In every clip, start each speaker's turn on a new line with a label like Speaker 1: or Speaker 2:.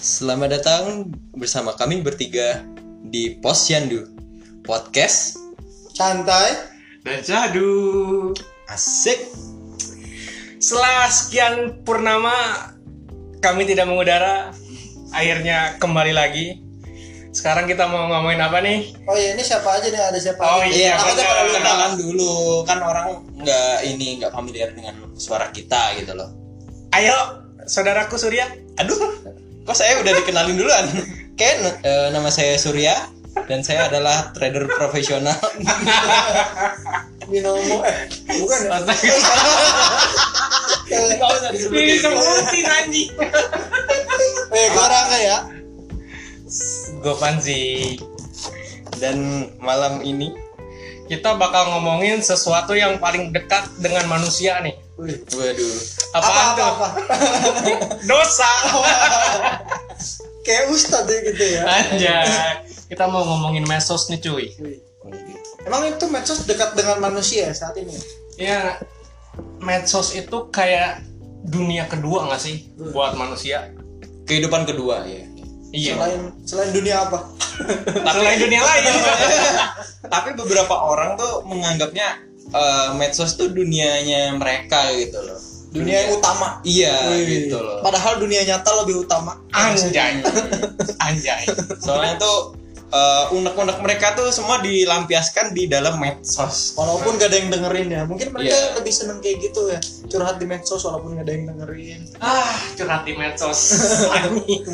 Speaker 1: Selamat datang bersama kami bertiga di Posyandu Podcast
Speaker 2: santai
Speaker 3: dan Syahdu.
Speaker 1: Asik
Speaker 3: Setelah sekian purnama kami tidak mengudara, akhirnya kembali lagi. Sekarang kita mau ngomongin apa nih?
Speaker 2: oh ya ini siapa aja nih ada siapa aja?
Speaker 3: Oh,
Speaker 1: Iya,
Speaker 3: Iya,
Speaker 1: makanya
Speaker 3: bener.
Speaker 1: perlu kenalan dulu Kan orang nggak ini nggak familiar dengan suara kita gitu loh
Speaker 3: Ayo, saudaraku Surya.
Speaker 1: Aduh, kok saya udah dikenalin duluan? Ken, eh, nama saya Surya dan saya adalah trader profesional.
Speaker 2: binomo eh bukan ya eh
Speaker 1: Nggak usah
Speaker 3: Ini
Speaker 1: disebutin.
Speaker 3: sebutin anjing.
Speaker 2: eh, gua Rangga ya
Speaker 3: Gopan sih.
Speaker 1: Dan malam ini,
Speaker 3: Kita bakal ngomongin sesuatu yang paling dekat dengan manusia nih.
Speaker 2: Wih.
Speaker 1: waduh,
Speaker 3: Apaan
Speaker 2: apa,
Speaker 3: tuh?
Speaker 2: apa, apa.
Speaker 3: Dosa.
Speaker 2: kayak ustad ya gitu ya
Speaker 3: Anjay. Kita mau ngomongin mesos nih cuy.
Speaker 2: Wih. emang itu medsos dekat dengan manusia saat ini
Speaker 3: Ya,
Speaker 2: Iya.
Speaker 3: medsos itu kayak dunia kedua nggak sih
Speaker 2: Hmm.
Speaker 3: buat manusia?
Speaker 1: kehidupan kedua ya.
Speaker 3: Iya.
Speaker 2: selain selain dunia apa
Speaker 3: Selain dunia lain.
Speaker 1: Tapi beberapa orang tuh menganggapnya eh, medsos tuh dunianya mereka gitu loh.
Speaker 2: dunia yang utama
Speaker 1: Iya
Speaker 2: Wih.
Speaker 1: gitu loh.
Speaker 2: padahal dunia nyata lebih utama
Speaker 3: Ya, Anjay. Anjay.
Speaker 1: Soalnya tuh eh, unek-unek mereka tuh semua dilampiaskan di dalam medsos.
Speaker 2: walaupun gak ada yang dengerin ya mungkin mereka
Speaker 1: Iya.
Speaker 2: lebih seneng kayak gitu ya curhat di medsos walaupun gak ada yang dengerin
Speaker 3: Ah, curhat di medsos. Anjing.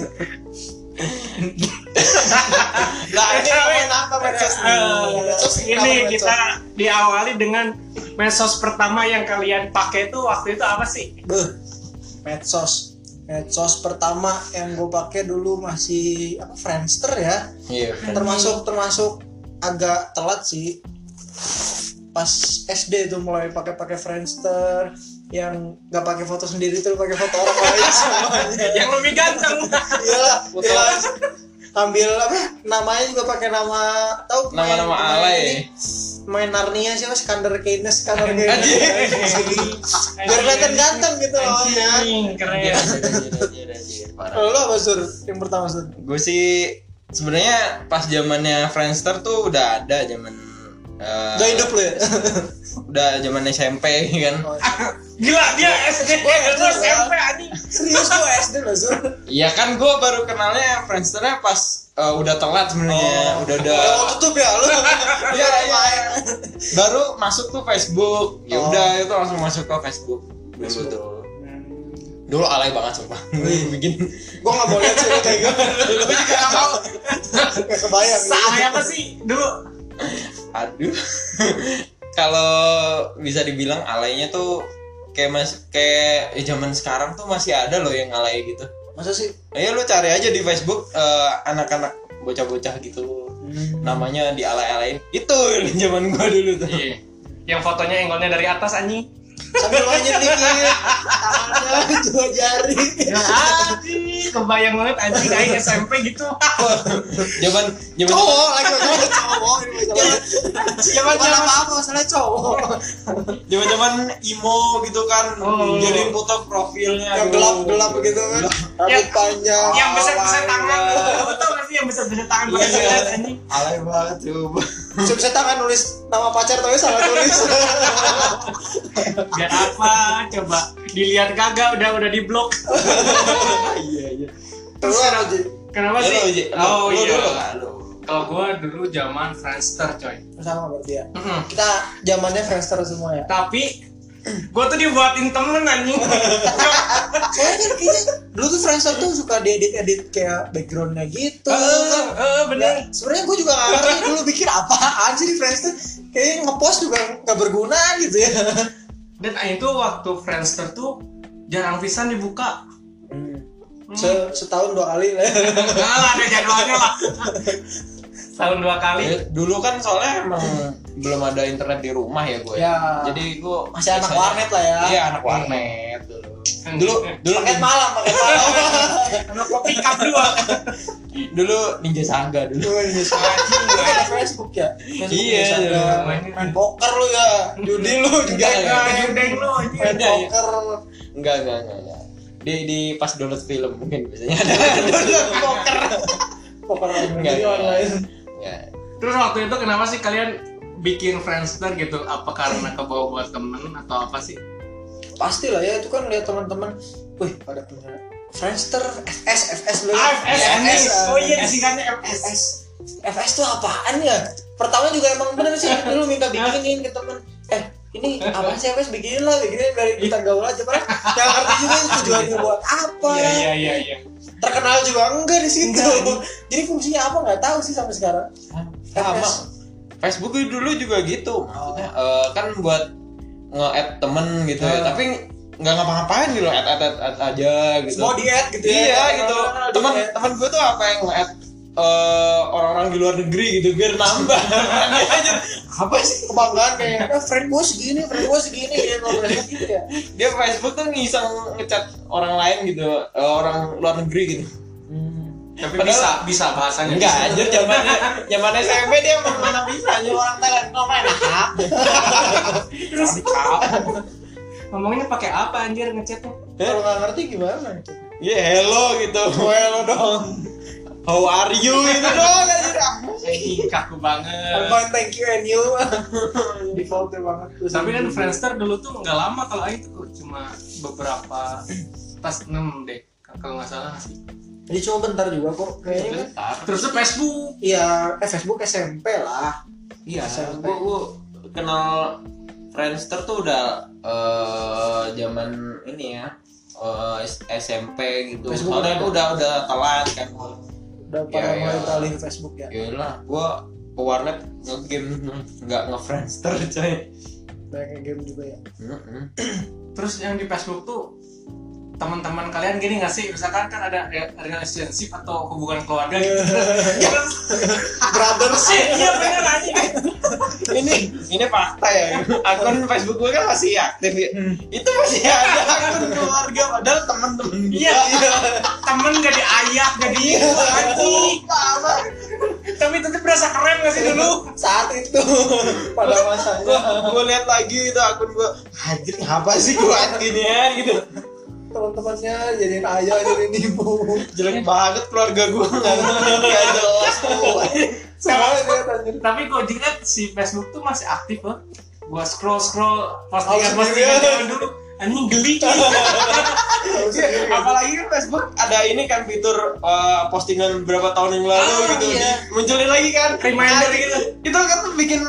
Speaker 1: Lah ini ngomongin apa
Speaker 2: Iya.
Speaker 1: medsos?
Speaker 3: Eh,
Speaker 2: Medsos
Speaker 3: ini
Speaker 2: kenapa
Speaker 3: kita diawali dengan medsos pertama yang kalian pakai tuh waktu itu apa sih?
Speaker 2: Beuh, medsos. Medsos pertama yang gue pakai dulu masih apa Friendster ya.
Speaker 1: Iya.
Speaker 2: Termasuk termasuk agak telat sih. Pas SD tuh mulai pakai-pakai Friendster yang nggak pakai foto sendiri tuh pakai foto orang lain semuanya.
Speaker 3: Yang lebih ganteng.
Speaker 2: Iyalah,
Speaker 1: Foto
Speaker 2: jelas. Ambil apa? Namanya juga pakai nama tahu pemain-
Speaker 1: Nama-nama ya?
Speaker 2: pemain
Speaker 1: alay.
Speaker 2: ini, Main Narnia siapa? Skander Keynes, Skander
Speaker 1: Anjing.
Speaker 2: Keynes. Biar kelihatan ganteng gitu loh. ya.
Speaker 3: Anjing, keren.
Speaker 2: iya, Kalau lo apa sur? Yang pertama sur?
Speaker 1: gue sih sebenarnya pas zamannya Friendster tuh udah ada zaman eh,
Speaker 2: Gak hidup lo ya?
Speaker 1: udah zaman SMP kan
Speaker 3: Gila dia SD, gue
Speaker 2: ya.
Speaker 3: SMP anjing.
Speaker 2: Serius lo SD lo sur?
Speaker 1: Iya kan gue baru kenalnya Friendsternya pas eh, udah telat
Speaker 2: Oh.
Speaker 1: sebenarnya Iya, udah udah
Speaker 2: Udah mau tutup ya lo?
Speaker 1: Iya, iya.
Speaker 2: main.
Speaker 1: baru masuk tuh Facebook ya
Speaker 2: Oh.
Speaker 1: udah itu langsung masuk ke Facebook dulu
Speaker 2: Facebook.
Speaker 1: tuh dulu alay banget sumpah bikin
Speaker 2: Gue gak mau lihat sih lo kayak gitu. gimana
Speaker 3: Gue juga gak mau.
Speaker 2: Gak kebayang
Speaker 3: Sama apa sih dulu?
Speaker 1: aduh kalau bisa dibilang alaynya tuh kayak mas kayak eh, zaman sekarang tuh masih ada loh yang alay gitu
Speaker 2: Masa sih?
Speaker 1: Ayo lu cari aja di Facebook eh, anak-anak bocah-bocah gitu namanya dialay-alain itu zaman gua dulu tuh
Speaker 3: Iya. Yang fotonya engkolnya dari atas anjing.
Speaker 2: Sambil lanjut dikit Tangannya dua jari
Speaker 3: Ya anjing, kebayang banget anjing aing SMP gitu.
Speaker 1: zaman zaman
Speaker 2: Cowok lagi lagi cowok ini lagi, lagi.
Speaker 1: zaman
Speaker 2: Bukan
Speaker 1: zaman
Speaker 2: apa-apa masalah cowok
Speaker 1: zaman zaman imo gitu kan
Speaker 3: Oh.
Speaker 1: jadi foto profilnya
Speaker 2: Yang
Speaker 1: aduh.
Speaker 2: gelap-gelap gitu kan Rambut
Speaker 3: Yang-
Speaker 2: panjang
Speaker 3: yang besar-besar
Speaker 2: alay
Speaker 3: tangan.
Speaker 2: banget.
Speaker 3: Lu tau gak sih yang besar-besar tangan gue
Speaker 2: Iya, iya.
Speaker 3: anjing?
Speaker 1: alay banget coba
Speaker 2: Bisa-bisa tangan kan nulis nama pacar tapi salah tulis.
Speaker 3: Biar apa coba dilihat kagak udah udah di blok.
Speaker 1: iya iya
Speaker 2: Terus apa Ji?
Speaker 3: Kenapa
Speaker 1: Lu, Ji,
Speaker 3: sih?
Speaker 1: lu-
Speaker 3: Oh
Speaker 1: Iya, lu dulu
Speaker 3: iya.
Speaker 1: lah, lu.
Speaker 3: Kalau gua dulu zaman Friendster coy.
Speaker 2: Sama berarti ya.
Speaker 3: Mm-mm.
Speaker 2: Kita zamannya Friendster semua ya.
Speaker 3: Tapi gue tuh dibuatin temen anjing. Eh,
Speaker 2: Soalnya kan kayaknya dulu tuh Friendster tuh suka diedit-edit kayak backgroundnya gitu.
Speaker 3: Heeh, heeh, eh,
Speaker 2: Ya,
Speaker 3: bener.
Speaker 2: sebenarnya gue juga gak ngerti dulu bikin apaan sih di Friendster. Kayaknya ngepost juga gak berguna gitu ya.
Speaker 3: Dan aing tuh waktu Friendster tuh jarang pisan dibuka.
Speaker 2: Se- setahun dua kali lah.
Speaker 3: Enggak lah, ada jadwalnya lah. Tahun dua kali.
Speaker 1: Eh, dulu kan soalnya emang belum ada internet di rumah ya gue
Speaker 2: Ya.
Speaker 1: jadi gua
Speaker 2: Masih anak
Speaker 1: biasanya-
Speaker 2: warnet lah ya. Hmm.
Speaker 1: iya anak warnet dulu dulu dulu
Speaker 2: Paket malam, paket malam.
Speaker 3: anak kopi cup dua.
Speaker 1: dulu ninja saga dulu
Speaker 2: Wih,
Speaker 3: Anjing,
Speaker 2: Lu kan ada Facebook ya? Facebook
Speaker 1: Iya,
Speaker 2: bisa
Speaker 1: iya.
Speaker 2: ada. Main poker lu ya. Judi lu juga.
Speaker 1: Enggak,
Speaker 3: Nah, judeng lu
Speaker 2: Main
Speaker 3: anjing.
Speaker 1: Ada, iya.
Speaker 2: poker.
Speaker 1: enggak enggak enggak, enggak. di di pas download film mungkin biasanya ada
Speaker 2: Download poker. poker
Speaker 1: Enggak,
Speaker 2: online. online.
Speaker 1: ya
Speaker 3: Terus waktu itu kenapa sih kalian bikin Friendster gitu? Apa karena kebawa buat temen atau apa sih?
Speaker 2: Pasti lah ya itu kan lihat teman-teman, wih pada punya Friendster, FS, FS lu.
Speaker 3: AFS
Speaker 2: FS.
Speaker 3: Oh iya, singkatnya
Speaker 2: FS. FS tuh apaan ya? Pertama juga emang bener sih dulu minta bikinin ke temen. Eh ini apa sih FS bikinin lah bikinin dari kita gaul aja pernah nggak ngerti juga tujuannya buat apa
Speaker 3: Iya iya iya iya.
Speaker 2: terkenal juga enggak di situ jadi fungsinya apa nggak tahu sih sampai sekarang
Speaker 1: sama Facebook dulu juga gitu maksudnya eh, kan buat nge-add temen gitu ya
Speaker 2: Ah.
Speaker 1: tapi nggak ngapa-ngapain gitu add add add, add aja gitu
Speaker 2: mau diet gitu ya
Speaker 1: iya
Speaker 2: Orang-orang
Speaker 1: gitu
Speaker 2: kenal
Speaker 1: teman
Speaker 2: diet.
Speaker 1: teman gue tuh apa yang nge-add eh, orang-orang di luar negeri gitu biar nambah Aneh aja. apa sih
Speaker 2: kebanggaan kayak "Ah, friend gue segini friend gue segini dia nggak boleh gitu ya
Speaker 1: dia Facebook tuh ngiseng ngechat orang lain gitu eh, orang luar negeri gitu
Speaker 3: Tapi
Speaker 1: Padahal-
Speaker 3: bisa bisa bahasanya.
Speaker 1: enggak
Speaker 3: bisa.
Speaker 1: anjir zamannya zaman SMP dia emang mana bisa
Speaker 2: Tanya orang Thailand no main hap
Speaker 3: Terus Ngomongnya pakai apa anjir ngechatnya?
Speaker 2: kalau nggak ngerti gimana gitu
Speaker 1: Iya hello gitu, Oh, hello dong. How are you gitu dong anjir.
Speaker 3: Ih, kaku Eh, banget.
Speaker 2: Alvan thank you and you defaultnya banget tuh
Speaker 3: Tapi kan Friendster dulu tuh nggak lama kalau itu cuma beberapa pas 6 deh kalau nggak salah nggak sih.
Speaker 2: jadi cuma bentar juga kok
Speaker 1: Iya,
Speaker 2: kayaknya kan
Speaker 3: Terus tuh Facebook.
Speaker 2: Iya, eh, Facebook SMP lah.
Speaker 1: Iya,
Speaker 2: SMP.
Speaker 1: gua, gua kenal Friendster tuh udah eh, zaman ini ya. eh, S- SMP gitu.
Speaker 2: Facebook
Speaker 1: Soalnya
Speaker 2: ada.
Speaker 1: udah udah telat kan.
Speaker 2: Udah pada
Speaker 1: Iya,
Speaker 2: mulai
Speaker 1: iya.
Speaker 2: beralih ke Facebook ya.
Speaker 1: Yalah, gua ke warnet nge-game nggak nge-friendster coy.
Speaker 2: Banyak game juga ya.
Speaker 1: Mm-mm.
Speaker 3: Terus yang di Facebook tuh teman-teman kalian gini nggak sih misalkan kan ada ya, relationship atau hubungan keluarga gitu terus
Speaker 2: Brother
Speaker 3: eh, iya bener aja
Speaker 1: ini ini fakta ya akun Facebook gue kan masih aktif ya
Speaker 2: Hmm.
Speaker 1: itu masih ada akun keluarga padahal temen-temen gua.
Speaker 3: Iya. temen jadi ayah jadi ibu
Speaker 1: Iya.
Speaker 3: anjing.
Speaker 2: sama
Speaker 3: tapi tetep berasa keren nggak sih dulu
Speaker 2: saat itu pada masanya
Speaker 1: gua gua lihat lagi itu akun gua anjir apa sih gua gini ya gitu
Speaker 2: teman-temannya jadiin ayah jadiin ibu.
Speaker 1: jelek banget keluarga gua nggak ngerti, nggak jelas tuh
Speaker 2: Semuanya dia tanya.
Speaker 3: tapi kok dilihat si Facebook tuh masih aktif loh gua scroll scroll postingan
Speaker 2: Oh,
Speaker 3: postingan
Speaker 2: sendirian.
Speaker 3: zaman dulu anjing geli
Speaker 2: Tahu sendiri.
Speaker 1: apalagi kan Facebook ada ini kan fitur eh, postingan berapa tahun yang lalu
Speaker 3: Ah,
Speaker 1: gitu
Speaker 2: iya.
Speaker 1: munculin lagi kan
Speaker 3: Reminder gitu.
Speaker 1: itu kan tuh bikin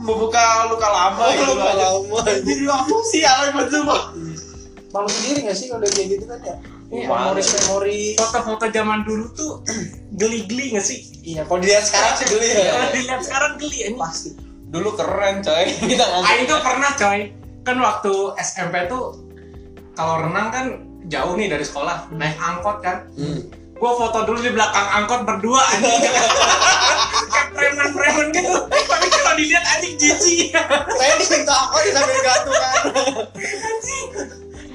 Speaker 1: membuka luka lama
Speaker 2: Oh, Luka
Speaker 1: gitu
Speaker 2: lama.
Speaker 1: jadi apa sih alamat semua
Speaker 2: Malu sendiri nggak sih kalau udah kayak gitu kan ya?
Speaker 3: Iya.
Speaker 2: Memoris memori.
Speaker 3: foto-foto zaman dulu tuh geli-geli nggak sih
Speaker 2: Iya, kalau dilihat sekarang sih dulu
Speaker 1: Iya.
Speaker 2: ya.
Speaker 3: kalau dilihat sekarang geli anjing
Speaker 2: Pasti.
Speaker 1: dulu keren coy kita
Speaker 3: Ah
Speaker 1: ngantri
Speaker 3: itu pernah coy kan waktu SMP tuh kalau renang kan jauh nih dari sekolah naik angkot kan
Speaker 1: Hmm.
Speaker 3: gua foto dulu di belakang angkot berdua anjing kayak preman-preman gitu tapi kalau dilihat anjing jijik
Speaker 2: Saya di pintu aku di sambil gantungan.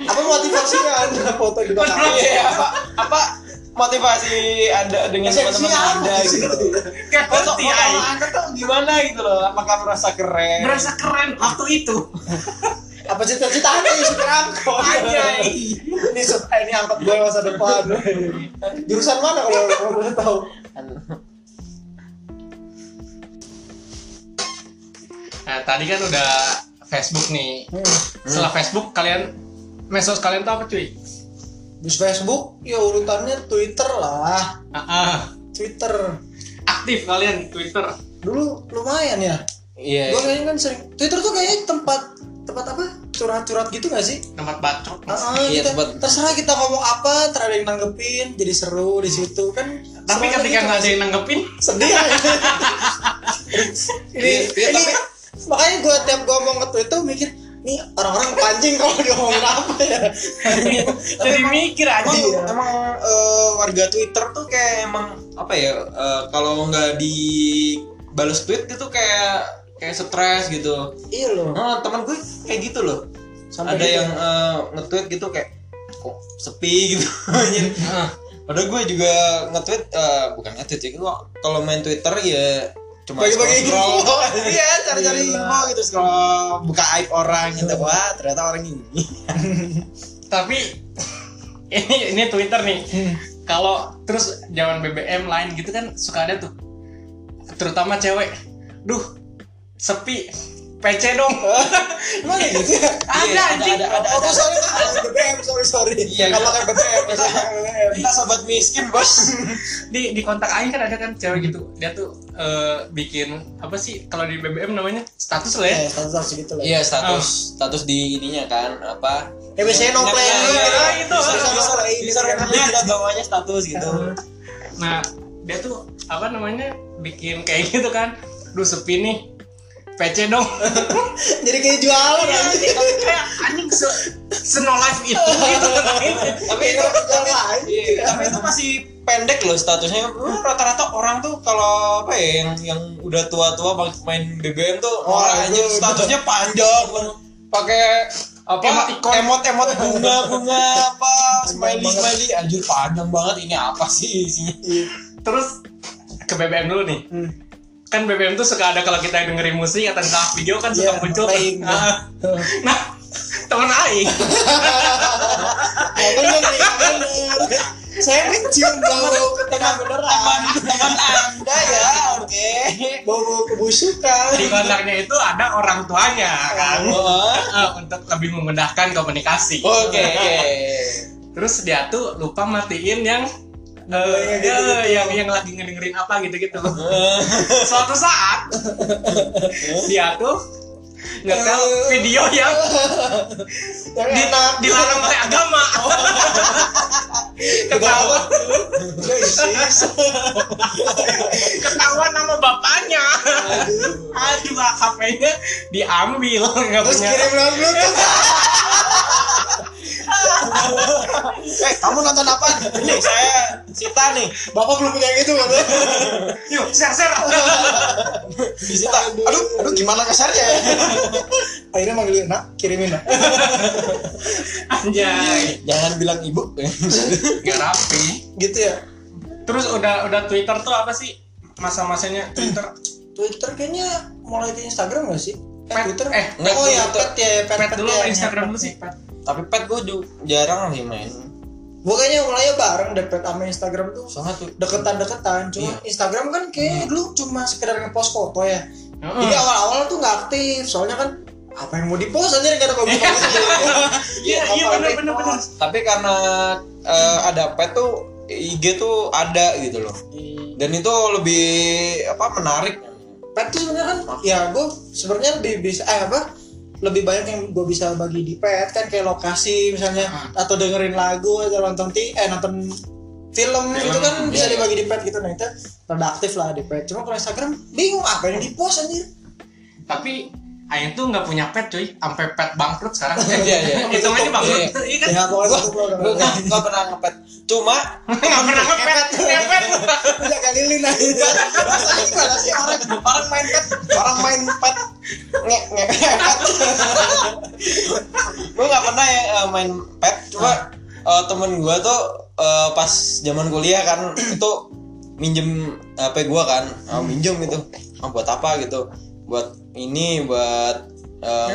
Speaker 2: Apa motivasinya anda foto di belakang?
Speaker 1: Iya, apa, apa motivasi anda dengan teman-teman
Speaker 2: Esensinya apa
Speaker 1: anda
Speaker 2: sih?
Speaker 1: gitu
Speaker 3: kayak
Speaker 1: foto
Speaker 3: ngerti
Speaker 1: foto
Speaker 3: ay
Speaker 1: anda tuh gimana gitu loh apakah merasa keren
Speaker 3: berasa keren waktu itu
Speaker 2: Apa cita-cita anda ya supir angkot?
Speaker 1: Iya.
Speaker 3: anjay
Speaker 2: Ini sup- eh, ini angkot gue masa depan. Jurusan mana kalau kalau boleh tahu?
Speaker 3: nah tadi kan udah Facebook nih
Speaker 1: Hmm.
Speaker 3: setelah Facebook kalian mesos kalian tuh apa cuy
Speaker 2: Di Facebook ya urutannya Twitter lah.
Speaker 3: Ah, ah.
Speaker 2: Twitter
Speaker 3: aktif kalian Twitter
Speaker 2: dulu lumayan ya.
Speaker 1: iya
Speaker 2: Gue kayaknya kan sering Twitter tuh kayaknya tempat tempat apa curhat-curhat gitu gak sih?
Speaker 3: tempat bacot
Speaker 2: Ah, ah,
Speaker 1: Iya,
Speaker 2: kita-
Speaker 1: tempat-
Speaker 2: terserah kita ngomong apa, terus ada yang nanggepin, jadi seru di situ kan.
Speaker 3: tapi
Speaker 2: serunya
Speaker 3: ketika
Speaker 2: gitu.
Speaker 3: nggak ada yang nanggepin
Speaker 2: sedih aja. ini,
Speaker 1: Iya,
Speaker 2: ini
Speaker 1: tapi-
Speaker 2: makanya gue tiap gue ngomong ke Twitter mikir nih orang-orang pancing kalau diomongin apa ya.
Speaker 3: jadi mikir
Speaker 1: emang,
Speaker 3: anjing
Speaker 2: Iya.
Speaker 1: emang, eh, warga Twitter tuh kayak emang apa ya eh, kalau nggak dibales tweet itu kayak kayak stres gitu
Speaker 2: iya loh.
Speaker 1: nah, teman gue kayak gitu loh
Speaker 2: Sampai
Speaker 1: ada
Speaker 2: gitu.
Speaker 1: yang eh, nge-tweet gitu kayak kok sepi gitu Anjir.
Speaker 3: Heeh.
Speaker 1: Padahal gue juga nge-tweet eh, bukan nge-tweet ya gue kalau main Twitter ya cuma
Speaker 2: Bagi-bagi
Speaker 1: scroll-
Speaker 2: info.
Speaker 1: scroll. iya cari-cari
Speaker 2: Gila.
Speaker 1: info gitu scroll buka aib orang gitu wah ternyata orang ini
Speaker 3: tapi ini ini Twitter nih. Kalau terus zaman BBM lain gitu kan suka ada tuh. Terutama cewek. Duh, sepi. PC dong.
Speaker 2: Emang kayak gitu ya?
Speaker 3: ada
Speaker 1: ada,
Speaker 3: anjing.
Speaker 1: ada, ada.
Speaker 2: Oh, gue sorry mahal BBM, sorry sorry.
Speaker 1: Iya,
Speaker 2: Gak
Speaker 1: iya.
Speaker 2: makan BBM, gak makan BBM.
Speaker 1: Kita sobat miskin bos.
Speaker 3: Di di kontak aing kan ada kan cewek gitu. Dia tuh eh, bikin apa sih kalau di BBM namanya status lah
Speaker 2: Eh,
Speaker 3: ya.
Speaker 2: status harus gitu lah.
Speaker 1: Iya status status di ininya kan apa?
Speaker 2: Eh, biasanya no play.
Speaker 1: Nah,
Speaker 2: gitu.
Speaker 1: iya,
Speaker 3: itu.
Speaker 2: Bisa,
Speaker 1: Bisa
Speaker 2: bisa,
Speaker 1: bisa
Speaker 2: bisa,
Speaker 1: bisa
Speaker 2: bisa.
Speaker 1: kita bawanya status gitu.
Speaker 3: Nah, dia tuh apa namanya? bikin kayak gitu kan. Duh, sepi nih. PC dong.
Speaker 2: Jadi kayak jualan
Speaker 1: Iya,
Speaker 2: anjing.
Speaker 3: Iya, kayak anjing se seno live itu gitu
Speaker 1: Tapi
Speaker 2: Kayak
Speaker 1: itu
Speaker 2: orang jualan.
Speaker 1: Iya, tapi itu masih pendek loh statusnya. Eh, Rata-rata orang tuh kalau apa ya yang yang udah tua-tua bang- main BBM tuh
Speaker 2: Oh,
Speaker 1: orang aja
Speaker 2: itu-
Speaker 1: statusnya panjang Bang. pakai apa
Speaker 3: Emoticon.
Speaker 1: emot-emot bunga-bunga apa smiley
Speaker 2: Panjang
Speaker 1: smiley anjir panjang banget ini apa sih isinya?
Speaker 2: Iya.
Speaker 3: Terus ke BBM dulu nih.
Speaker 2: Hmm.
Speaker 3: Kan BBM tuh suka ada kalau kita dengerin musik atau nggak video kan suka
Speaker 2: Iya,
Speaker 3: muncul.
Speaker 2: playing.
Speaker 1: Ah.
Speaker 3: Nah, nah, temen aing
Speaker 2: Ya, bener nih, bener. Saya mencium bau ketengan beneran.
Speaker 1: Teman Anda ya, oke.
Speaker 2: Bau-bau kebusukan.
Speaker 3: di kontaknya itu ada orang tuanya kan.
Speaker 1: Oh,
Speaker 3: Eh, untuk lebih memudahkan komunikasi.
Speaker 1: Oke.
Speaker 3: Terus dia tuh lupa matiin yang eh,
Speaker 2: Yang gitu-gitu.
Speaker 3: eh, yang yang lagi ngedengerin apa gitu-gitu.
Speaker 2: Eh.
Speaker 3: Suatu saat dia tuh ngetel video yang
Speaker 2: Yang
Speaker 3: di,
Speaker 2: Eh. enak. Oh.
Speaker 3: dilarang oleh agama. ketahuan
Speaker 2: Udah isis.
Speaker 3: ketahuan nama bapaknya. Aduh, HP-nya diambil nggak
Speaker 2: Terus
Speaker 3: punya.
Speaker 2: kirim lewat bluetooth. Eh, kamu nonton apa?
Speaker 1: Nih, saya Sita nih.
Speaker 2: Bapak belum punya yang itu kan?
Speaker 3: Yuk, share-share.
Speaker 1: Sita.
Speaker 2: Aduh, aduh gimana kasarnya ya? Akhirnya manggilin, nak kirimin Eh, nak.
Speaker 3: Anjay,
Speaker 1: Jangan bilang ibu.
Speaker 3: nggak rapi.
Speaker 2: Gitu ya.
Speaker 3: Terus udah udah Twitter tuh apa sih masa-masanya Twitter?
Speaker 2: Twitter kayaknya mulai ke Instagram gak sih? Eh,
Speaker 3: Pet,
Speaker 2: Twitter?
Speaker 3: eh,
Speaker 1: enggak,
Speaker 2: oh ya,
Speaker 1: Twitter.
Speaker 2: pet ya, pet,
Speaker 3: Pet
Speaker 2: pet
Speaker 3: dulu
Speaker 2: ya.
Speaker 3: apa Instagram dulu sih? Pet.
Speaker 1: Tapi pet gue ju- jarang sih main.
Speaker 2: Gua kayaknya mulainya bareng deh pet sama Instagram tuh
Speaker 1: Soalnya tuh
Speaker 2: deketan-deketan. Cuma
Speaker 1: Iya.
Speaker 2: Instagram kan
Speaker 3: Hmm.
Speaker 2: kayak dulu cuma sekedar ngepost foto ya.
Speaker 3: Heeh.
Speaker 2: Jadi awal-awal tuh nggak aktif, soalnya kan apa yang mau dipost aja nggak ada bagus-bagus.
Speaker 3: Iya, iya benar benar benar.
Speaker 1: tapi karena eh, ada pet tuh IG tuh ada gitu loh. Dan itu lebih apa menarik.
Speaker 2: Pet tuh sebenarnya kan, ya gue sebenarnya lebih bisa eh apa? lebih banyak yang gue bisa bagi di pet kan kayak lokasi misalnya atau dengerin lagu atau nonton ti eh nonton film, gitu
Speaker 1: iya,
Speaker 2: kan bisa
Speaker 1: iya.
Speaker 2: dibagi di pet gitu nah itu rada aktif lah di pet cuma kalau Instagram bingung apa yang di post anjir
Speaker 3: Tapi Aing tuh nggak punya pet cuy, sampai pet bangkrut sekarang.
Speaker 1: Iya, iya.
Speaker 3: Itu aja bangkrut.
Speaker 1: Iya,
Speaker 3: Iya kan?
Speaker 2: ya pokoknya satu
Speaker 1: Gue
Speaker 2: program
Speaker 1: gak, gak pernah ngepet. Cuma
Speaker 3: Nggak pernah ngepet, ngepet.
Speaker 2: Udah kali lilin aja. Masa gimana sih orang orang main pet, orang main pet nge nge pet.
Speaker 1: gue gak pernah ya eh, main pet. Cuma eh, temen gue tuh eh, pas zaman kuliah kan itu minjem HP gue kan, Ah, minjem gitu. Ah, buat apa gitu? Buat ini buat eh,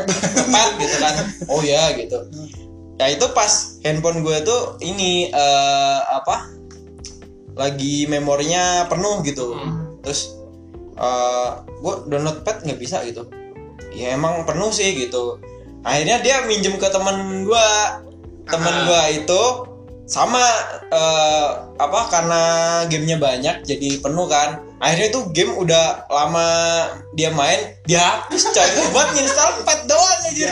Speaker 1: ngepet gitu kan. Oh ya gitu. Ya itu pas handphone gue tuh ini eh, apa? Lagi memorinya penuh gitu.
Speaker 3: Hmm.
Speaker 1: Terus gue download pet nggak bisa gitu. Ya emang penuh sih gitu. Akhirnya dia minjem ke temen gue. Temen
Speaker 3: Ah.
Speaker 1: gue itu sama eh, apa karena gamenya banyak jadi penuh kan akhirnya tuh game udah lama dia main dihapus coy buat install pet doang aja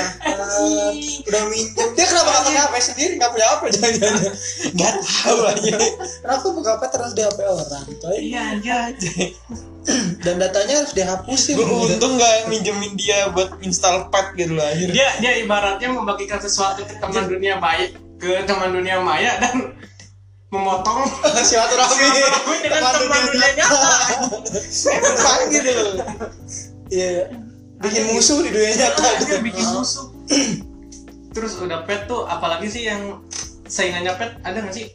Speaker 2: Udah minjem. Dia kenapa nggak punya HP sendiri? Nggak punya HP jangan-jangan.
Speaker 1: nggak tahu aja
Speaker 2: Kenapa buka pet terus di HP orang? coy?
Speaker 3: Iya, iya.
Speaker 2: Dan datanya harus dihapusin.
Speaker 1: gue untung nggak minjemin dia buat install pet gitu loh akhirnya
Speaker 3: Dia dia ibaratnya membagikan sesuatu ke teman dunia baik, ke teman dunia maya dan memotong
Speaker 2: Silaturahmi.
Speaker 3: silaturahmi dengan teman dunia nyata.
Speaker 2: Kan gitu loh. Iya. Bikin musuh di dunia nyata.
Speaker 3: Iya, dia bikin musuh terus udah pet tuh apalagi sih yang saingannya pet ada nggak sih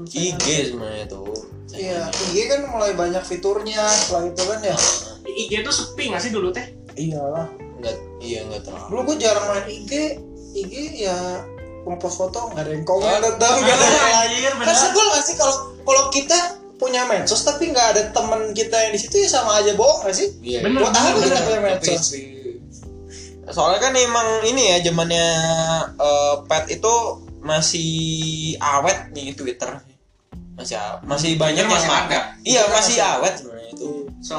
Speaker 1: IG sebenarnya tuh
Speaker 2: Iya, IG kan mulai banyak fiturnya setelah itu kan ya.
Speaker 3: IG tuh sepi nggak sih dulu teh
Speaker 2: Iyalah.
Speaker 1: nggak iya nggak terlalu
Speaker 2: Dulu gue jarang main IG, IG ya ngepost foto nggak ada yang
Speaker 1: Gak
Speaker 2: komen
Speaker 1: ada tahu
Speaker 3: Nggak
Speaker 1: gak ada
Speaker 3: ada,
Speaker 1: yang lain.
Speaker 3: anjir
Speaker 2: kan
Speaker 3: bener
Speaker 2: sebel nggak sih kalau kalau kita punya medsos tapi nggak ada teman kita yang di situ ya sama aja bohong nggak sih
Speaker 1: Iya.
Speaker 3: Bener,
Speaker 2: Buat apa
Speaker 3: bener,
Speaker 2: kita punya
Speaker 1: Tapi
Speaker 2: medsos
Speaker 1: si- Soalnya kan emang ini ya zamannya eh, pet itu masih awet nih Twitter. Masih a- masih banyak
Speaker 3: masih
Speaker 1: yang
Speaker 3: ada.
Speaker 1: Iya,
Speaker 2: Twitter
Speaker 1: masih
Speaker 2: masih-
Speaker 1: awet sebenarnya itu.
Speaker 3: so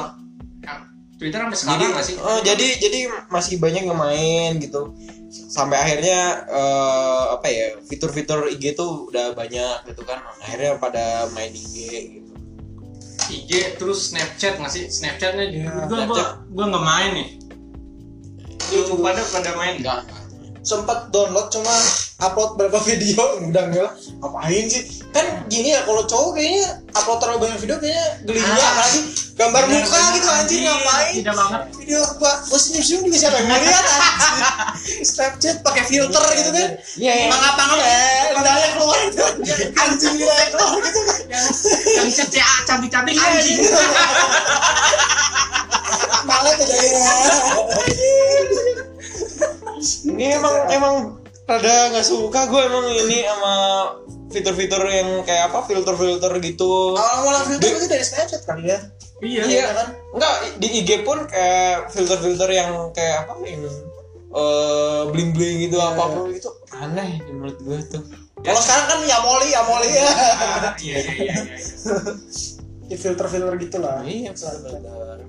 Speaker 3: kan, Twitter sampai
Speaker 1: Jadi,
Speaker 3: sekarang nggak sih
Speaker 1: eh, jadi jadi masih banyak yang main gitu. Sampai akhirnya eh, apa ya? Fitur-fitur IG tuh udah banyak gitu kan. Akhirnya pada main IG gitu.
Speaker 3: IG terus Snapchat nggak sih Snapchatnya
Speaker 2: Iya,
Speaker 3: juga gua
Speaker 1: Snapchat.
Speaker 3: gua nggak main nih lu pada pada main nggak
Speaker 1: Enggak.
Speaker 2: sempat download cuma upload berapa video udah enggak ngapain sih kan gini ya kalau cowok kayaknya upload terlalu banyak video kayaknya geli juga
Speaker 3: Ah.
Speaker 2: apalagi gambar
Speaker 1: Iya,
Speaker 2: muka gitu anjing ngapain
Speaker 3: tidak banget
Speaker 2: video apa gue senyum senyum juga siapa yang ngeliat anjing Snapchat pakai filter gitu kan
Speaker 1: Iya. iya.
Speaker 2: mangap mangap eh lidahnya keluar itu anjing lidahnya keluar gitu kan
Speaker 3: yang yang cetek cantik cantik anjing
Speaker 2: malah tuh iya. dari
Speaker 1: Ini emang emang rada nggak suka gue emang ini sama fitur-fitur yang kayak apa filter-filter gitu.
Speaker 2: awal mula filter itu dari Snapchat kali ya
Speaker 3: iya
Speaker 1: Iya.
Speaker 2: kan
Speaker 1: Enggak di IG pun kayak filter-filter yang kayak apa yang eh bling-bling gitu apa apa gitu aneh menurut gue tuh. Iya.
Speaker 2: kalau sekarang kan ya moli ya moli ya
Speaker 3: Ah, iya iya iya iya.
Speaker 2: di filter filter gitu lah
Speaker 1: Iya, filter-filter.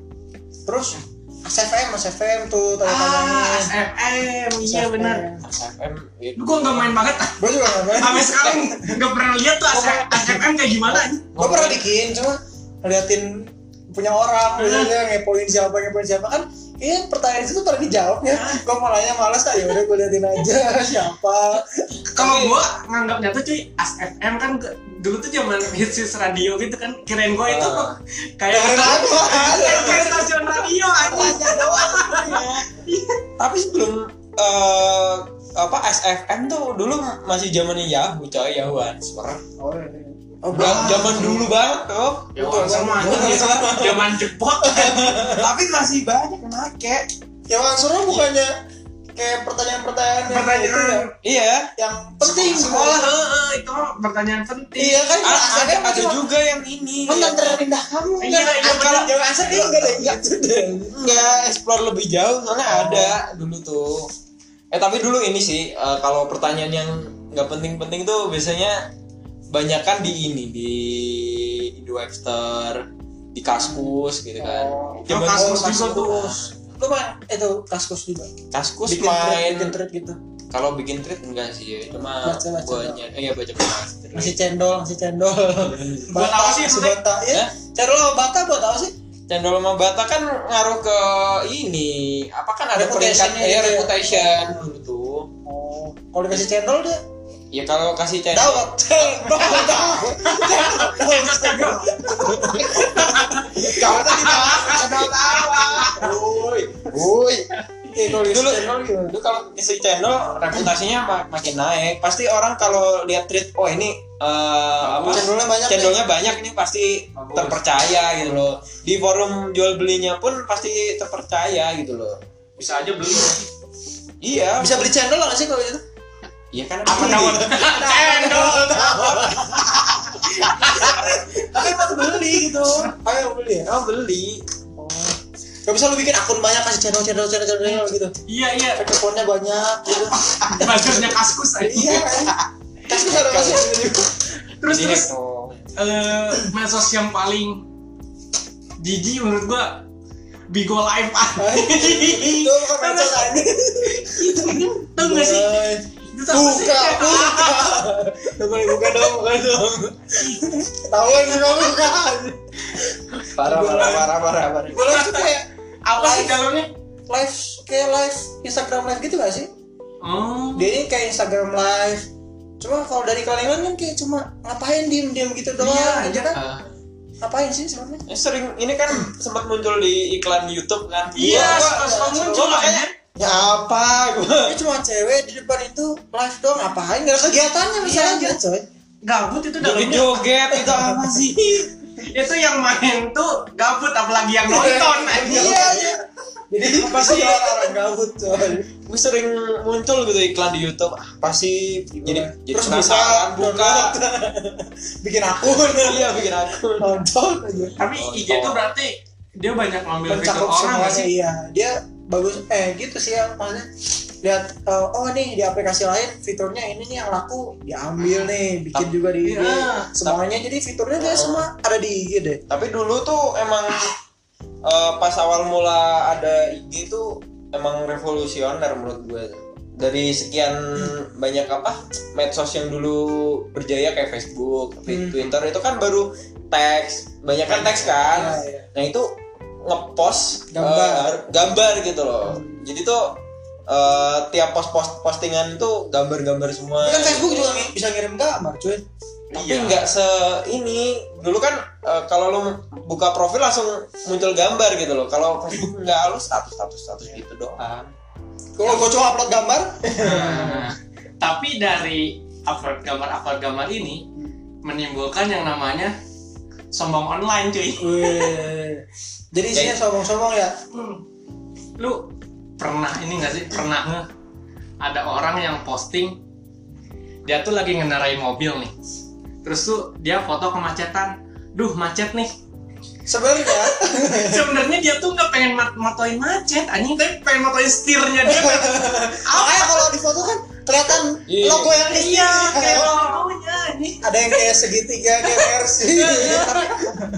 Speaker 2: terus SFM, SFM tuh
Speaker 3: ah
Speaker 2: tanya-tanya
Speaker 3: SFM iya
Speaker 2: SFM.
Speaker 3: benar
Speaker 1: SFM
Speaker 3: Lu gua nggak main banget
Speaker 2: Gue juga gak main
Speaker 3: sampai sekarang nggak pernah lihat tuh SFM kayak gimana anjing.
Speaker 2: Gue pernah bikin, cuma ngeliatin punya orang
Speaker 3: Iya.
Speaker 2: biasanya ngepoin siapa ngepoin siapa kan iya pertanyaan itu pada dijawab ya
Speaker 3: Iya.
Speaker 2: gue malahnya malas ah udah gue liatin aja siapa
Speaker 3: kalau gua nganggapnya tuh cuy SFM kan ke- dulu tuh zaman hits hits radio gitu kan kirain gua itu
Speaker 1: Ah.
Speaker 3: kayak
Speaker 2: dengerin apa
Speaker 3: kayak kayak stasiun radio anjing
Speaker 2: Tanya doang.
Speaker 1: Iya. Tapi sebelum eh, apa SFM tuh dulu masih zamannya Yahoo coy Yahoo Answer.
Speaker 2: oh iya. oh
Speaker 1: Udah
Speaker 2: gua-
Speaker 1: Zaman dulu banget tuh.
Speaker 3: ya orang sama anjing zaman kan, jepot
Speaker 1: Tapi masih banyak yang make.
Speaker 2: yang answernya bukannya kayak pertanyaan-pertanyaan yang itu ya,
Speaker 3: pertanyaan
Speaker 1: Iya.
Speaker 2: yang penting
Speaker 3: sekolah heeh, itu mah pertanyaan penting
Speaker 2: iya kan
Speaker 1: Ah, ada,
Speaker 2: SFM
Speaker 1: ada
Speaker 2: cuma,
Speaker 1: juga yang ini.
Speaker 2: mantan terindah kamu
Speaker 3: Iya,
Speaker 2: kan
Speaker 3: iya,
Speaker 2: kalau
Speaker 3: bener.
Speaker 2: yang answer dia enggak ada yang gitu deh
Speaker 1: Enggak, explore lebih jauh soalnya
Speaker 2: Oh.
Speaker 1: ada dulu tuh. Eh tapi dulu ini sih eh, kalau pertanyaan yang nggak penting-penting tuh biasanya banyakan di ini di di Webster, di Kaskus gitu kan.
Speaker 2: Oh.
Speaker 1: Zaman-
Speaker 3: Kaskus juga
Speaker 1: Kaskus.
Speaker 3: tuh.
Speaker 2: Gue mah itu kaskus juga.
Speaker 1: Kaskus
Speaker 2: Bikin thread,
Speaker 1: main
Speaker 2: bikin thread gitu.
Speaker 1: kalau bikin tweet enggak sih ya. Cuma
Speaker 2: Baca-baca
Speaker 1: banyak eh, iya baca-baca.
Speaker 2: Masih cendol, masih cendol.
Speaker 3: Iya. Buat apa sih,
Speaker 2: masih
Speaker 3: maksudnya?
Speaker 2: bata. Ya,
Speaker 1: Hah?
Speaker 2: cendol sama bata buat apa sih?
Speaker 1: Cendol sama Bata kan ngaruh ke ini, apa kan ada
Speaker 2: Reputation-nya
Speaker 1: peringkatnya ya
Speaker 2: gitu ya.
Speaker 1: reputation dulu tuh.
Speaker 2: Oh, kalau dikasih cendol dia
Speaker 1: Ya kalau kasih
Speaker 3: Eh.
Speaker 1: cendol
Speaker 2: dawat. Cendol, dawat. Cendol. Kau tadi dawat, cendol tawa. Woi.
Speaker 1: Woi,
Speaker 2: Eh, kalau dikasih
Speaker 1: Dulu-
Speaker 2: cendol gimana?
Speaker 1: itu kalau isi channel reputasinya mak- makin naik. Pasti orang kalau lihat tweet, oh ini eh, apa?
Speaker 2: Cendolnya banyak.
Speaker 1: Channelnya banyak ini pasti
Speaker 3: Bagus.
Speaker 1: terpercaya gitu loh. Di forum jual belinya pun pasti terpercaya gitu loh.
Speaker 3: bisa aja beli
Speaker 2: nih.
Speaker 1: Iya,
Speaker 2: Bisa beli cendol nggak sih kalau gitu? itu?
Speaker 1: Iya kan?
Speaker 3: apa
Speaker 1: beli.
Speaker 3: tahun cendol
Speaker 2: Tapi pas beli gitu. Ayo beli ya.
Speaker 1: Oh beli.
Speaker 2: Oh. Gak bisa lu bikin akun banyak kasih channel channel channel channel, channel gitu.
Speaker 3: iya iya
Speaker 2: Rekornya banyak gitu.
Speaker 3: bagernya kaskus anjing.
Speaker 2: Iya. Kasih bisa ada kasih
Speaker 3: terus
Speaker 1: Jadi
Speaker 3: terus
Speaker 1: heboh.
Speaker 3: eh medsos yang paling jijik menurut gua Bigo Live anjing.
Speaker 2: Itu bukan kan? medsos aja.
Speaker 3: Itu tau gak sih? Itu tau gak sih?
Speaker 2: Buka, buka. Gak boleh buka dong, buka dong. Tahuan sih kamu buka.
Speaker 1: Parah parah parah parah parah.
Speaker 2: Gue live tuh kayak
Speaker 3: Apa sih dalamnya?
Speaker 2: live kayak live Instagram live gitu gak sih?
Speaker 3: Oh.
Speaker 2: Dia ini kayak Instagram live. Cuma kalau dari kalian kan kayak cuma ngapain diem diem gitu doang
Speaker 3: Iya,
Speaker 2: gitu
Speaker 3: iya.
Speaker 2: kan?
Speaker 1: Ah.
Speaker 2: Ngapain sih sebenarnya?
Speaker 1: Ini sering ini kan sempat muncul di iklan YouTube kan?
Speaker 3: Iya,
Speaker 1: Gua- gua-
Speaker 3: suka suka muncul
Speaker 1: gua makanya-
Speaker 3: anjing.
Speaker 1: Ya apa? Gua
Speaker 2: Ini cuma cewek di depan itu live doang ngapain? Gak ada kegiatannya misalnya
Speaker 3: Iya,
Speaker 2: gitu coy.
Speaker 3: Gabut itu dalamnya.
Speaker 1: joget itu apa sih?
Speaker 3: Itu yang main tuh gabut apalagi yang nonton anjing.
Speaker 2: Iya, iya. jadi pasti orang-orang gabut coy
Speaker 1: gue sering muncul gitu iklan di YouTube ah, pasti jadi jadi
Speaker 2: terus buka
Speaker 1: penasaran buka
Speaker 2: download. bikin akun
Speaker 1: iya bikin aku
Speaker 2: nonton aja
Speaker 3: Tapi IG itu berarti dia banyak ngambil fitur
Speaker 2: mencakup
Speaker 3: orang kan?
Speaker 2: semuanya
Speaker 3: gak sih?
Speaker 2: iya dia bagus eh gitu sih ya maksudnya lihat eh, oh nih di aplikasi lain fiturnya ini nih yang laku diambil nih bikin
Speaker 1: Tap-
Speaker 2: juga di IG
Speaker 3: Iya.
Speaker 2: semuanya jadi fiturnya dia semua ada di IG deh
Speaker 1: tapi dulu tuh emang eh, pas awal mula ada IG tuh emang revolusioner menurut gue dari sekian banyak apa medsos yang dulu berjaya kayak Facebook,
Speaker 2: Hmm.
Speaker 1: Twitter itu kan baru teks, banyak kan teks kan.
Speaker 2: Iya, iya.
Speaker 1: Nah itu ngepost
Speaker 2: Gambar.
Speaker 1: eh, gambar gitu loh. Jadi tuh eh, tiap post post postingan tuh gambar-gambar semua.
Speaker 2: kan Facebook juga ngi- bisa ngirim gambar cuy
Speaker 1: Tapi nggak se ini dulu kan eh, kalau lu buka profil langsung muncul gambar gitu loh. Kalau Facebook nggak lu status status status gitu doang.
Speaker 2: kalau gue cuma upload gambar
Speaker 3: Nah, tapi dari upload gambar upload gambar ini menimbulkan yang namanya sombong online cuy.
Speaker 2: jadi isinya sombong-sombong ya
Speaker 3: Lu pernah ini gak sih pernah nge ada orang yang posting dia tuh lagi ngendarai mobil nih. Terus tuh dia foto kemacetan. Duh macet nih.
Speaker 2: sebenarnya
Speaker 3: Sebenarnya dia tuh nggak pengen mat- matoin macet, anjing tapi pengen matoin setirnya dia.
Speaker 2: makanya kalau di foto kan kelihatan
Speaker 1: Iya.
Speaker 2: logo yang
Speaker 3: iya, kayak
Speaker 2: Kayak- kan?
Speaker 3: logonya anjing.
Speaker 2: ada yang kayak segitiga kayak versi
Speaker 1: Iya.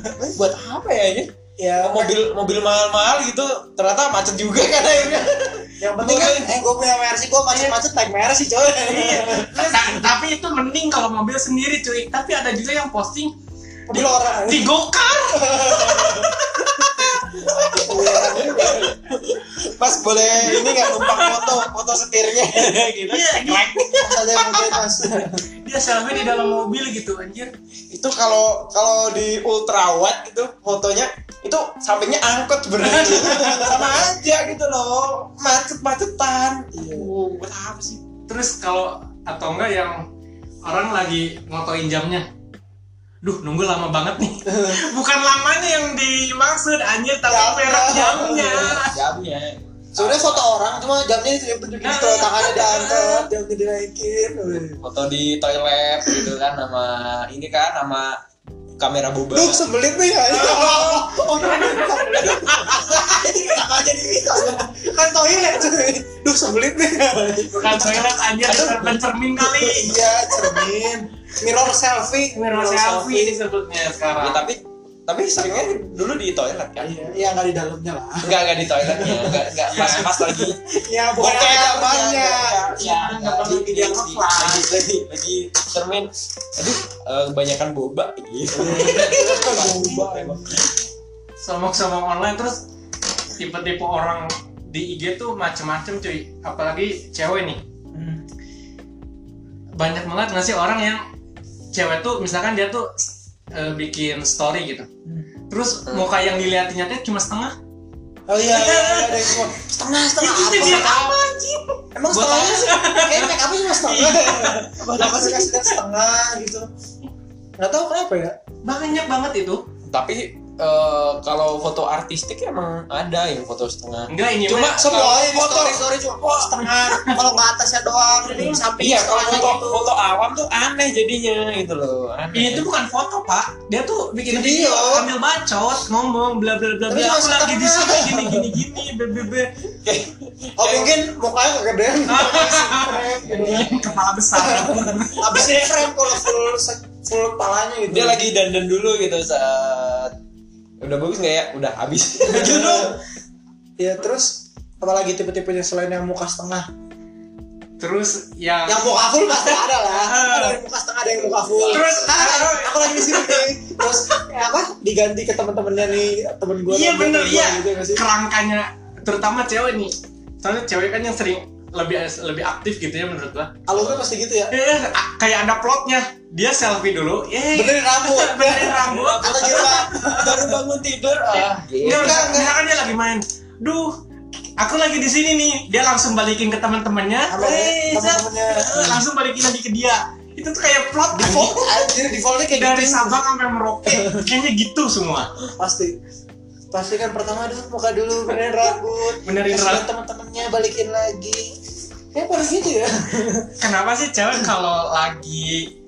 Speaker 1: Ini buat apa ya ini?
Speaker 2: ya
Speaker 1: Mobil mobil mahal-mahal gitu ternyata macet juga kan akhirnya.
Speaker 2: yang penting kan eh gue punya versi gue macet-macet naik mercy coy
Speaker 1: Iya.
Speaker 3: Ta- tapi itu mending kalau mobil sendiri cuy tapi ada juga yang posting
Speaker 2: mobil orang
Speaker 3: di gokar
Speaker 1: Mas boleh ini nggak numpang foto foto setirnya gitu.
Speaker 2: saja yang gitu, mobil pas
Speaker 3: Iya, dia selfie di dalam mobil gitu anjir
Speaker 1: itu kalau kalau di ultra wide gitu fotonya itu sampingnya angkot sebenarnya sama aja gitu loh Iya. macet macetan
Speaker 3: wow buat apa sih terus kalau atau enggak yang orang lagi ngotoin jamnya duh nunggu lama banget nih bukan lamanya yang dimaksud anjir tapi
Speaker 2: Jamnya.
Speaker 3: merek jamnya
Speaker 1: jamnya
Speaker 2: sebenarnya foto orang cuma jamnya itu yang penting gitu tangannya diangkat jamnya dinaikin
Speaker 1: foto di toilet gitu kan sama ini kan sama kamera boba
Speaker 2: Duh sembelit nih ya Oh. aja di kan toilet cuy Duh sembelit nih ya.
Speaker 3: bukan toilet anjir di cermin cermin kali
Speaker 2: Iya cermin Mirror selfie
Speaker 3: mirror selfie ini sebutnya
Speaker 1: Ya,
Speaker 3: sekarang
Speaker 1: tapi tapi seringnya dulu di toilet kan
Speaker 2: Iya nggak di dalamnya lah
Speaker 1: enggak enggak di toiletnya enggak enggak pas pas lagi
Speaker 2: Ya bukan ada Iya. gambarnya
Speaker 3: ya nggak perlu
Speaker 1: lagi
Speaker 3: video
Speaker 1: lagi
Speaker 3: lah
Speaker 1: lagi lagi lagi cermin aduh eh, kebanyakan boba
Speaker 3: Iya.
Speaker 1: gitu
Speaker 3: sombong-sombong online terus tipe-tipe orang di IG tuh macem-macem cuy apalagi cewek nih banyak banget nggak sih orang yang cewek tuh misalkan dia tuh eh, bikin story gitu terus
Speaker 1: Hmm.
Speaker 3: muka yang dilihatinnya tuh cuma setengah
Speaker 2: Oh iya, iya, iya, ada yang semua. setengah setengah
Speaker 3: itu
Speaker 2: apa?
Speaker 3: dia apa anjing
Speaker 2: Emang
Speaker 1: Buat
Speaker 2: setengahnya sih? Kayaknya make upnya cuma setengah. Kenapa sih kasih lihat setengah gitu? Gak tau kenapa ya.
Speaker 3: banyak banget itu
Speaker 1: tapi eh, kalau foto artistik emang ada yang foto setengah
Speaker 3: enggak ini
Speaker 1: Cuma
Speaker 3: mah
Speaker 1: kalau
Speaker 3: Iya,
Speaker 2: Semuanya di
Speaker 1: foto
Speaker 2: story story cuma oh, setengah. Kalau nggak atasnya doang, jadi samping
Speaker 1: iya kalau
Speaker 2: setengahnya
Speaker 1: foto
Speaker 2: gitu.
Speaker 1: foto awam tuh aneh jadinya gitu loh aneh
Speaker 3: Iya, itu bukan foto pak dia tuh bikin
Speaker 2: Video.
Speaker 3: video ambil bacot ngomong bla bla bla
Speaker 2: Tapi cuma
Speaker 3: bla aku lagi di sini
Speaker 2: setengah.
Speaker 3: gini gini gini bebe
Speaker 2: Oh mungkin mukanya kegedean.
Speaker 3: Ah, kepala besar
Speaker 2: Abisnya frame kalau full se- full kepalanya gitu.
Speaker 1: dia lagi dandan dulu gitu saat udah bagus nggak ya udah habis gitu
Speaker 2: Ya terus apalagi tipe-tipenya selain yang muka setengah.
Speaker 3: terus ya, yang
Speaker 2: Yang muka full pasti ada lah.
Speaker 3: Ah.
Speaker 2: Ada yang muka setengah, ada yang muka full.
Speaker 3: Terus,
Speaker 2: Ah, aku lagi di sini nih. Terus apa? Diganti ke teman-temannya nih, temen gue.
Speaker 3: iya bener iya
Speaker 2: Gitu, nggak sih?
Speaker 3: kerangkanya terutama cewek nih soalnya cewek kan yang sering lebih lebih aktif gitu ya menurut gua
Speaker 2: Alurnya pasti gitu ya.
Speaker 3: eh, a- kayak ada plotnya dia selfie dulu eh
Speaker 2: Benerin rambut.
Speaker 3: benerin rambut
Speaker 2: Atau jilbab.
Speaker 1: baru bangun tidur ah
Speaker 3: enggak
Speaker 2: enggak,
Speaker 3: enggak misalkan dia lagi main duh aku lagi di sini nih dia langsung balikin ke teman-temannya
Speaker 2: Sama
Speaker 3: eh,
Speaker 2: teman-temannya.
Speaker 3: eh, langsung balikin lagi ke dia itu tuh kayak plot
Speaker 2: Di
Speaker 3: anjing.
Speaker 2: fold anjir di foldnya kayak
Speaker 3: dari
Speaker 2: gitu.
Speaker 3: Sabang sampai Merauke kayaknya gitu semua
Speaker 2: Pasti. pastikan pertama dulu muka dulu benerin rambut
Speaker 4: Benerin
Speaker 2: kasih
Speaker 4: rambut.
Speaker 2: lihat teman-temannya balikin lagi ya pada gitu ya
Speaker 3: Kenapa sih cewek kalau lagi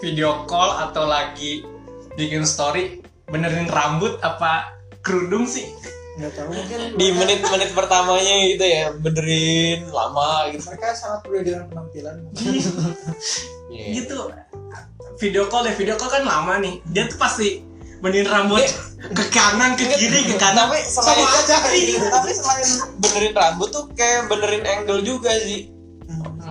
Speaker 3: video call atau lagi bikin story benerin rambut apa kerudung sih?
Speaker 2: nggak tahu mungkin
Speaker 1: di menit-menit pertamanya gitu ya benerin lama gitu
Speaker 2: mereka sangat peduli dengan penampilan
Speaker 1: Iya.
Speaker 3: Gitu. Video call deh, video call kan lama nih. Dia tuh pasti benerin rambut ke kanan, ke kiri, ke kanan.
Speaker 1: tapi
Speaker 2: sama
Speaker 1: selain
Speaker 2: aja gitu.
Speaker 1: Iya, tapi selain benerin rambut tuh kayak benerin angle juga sih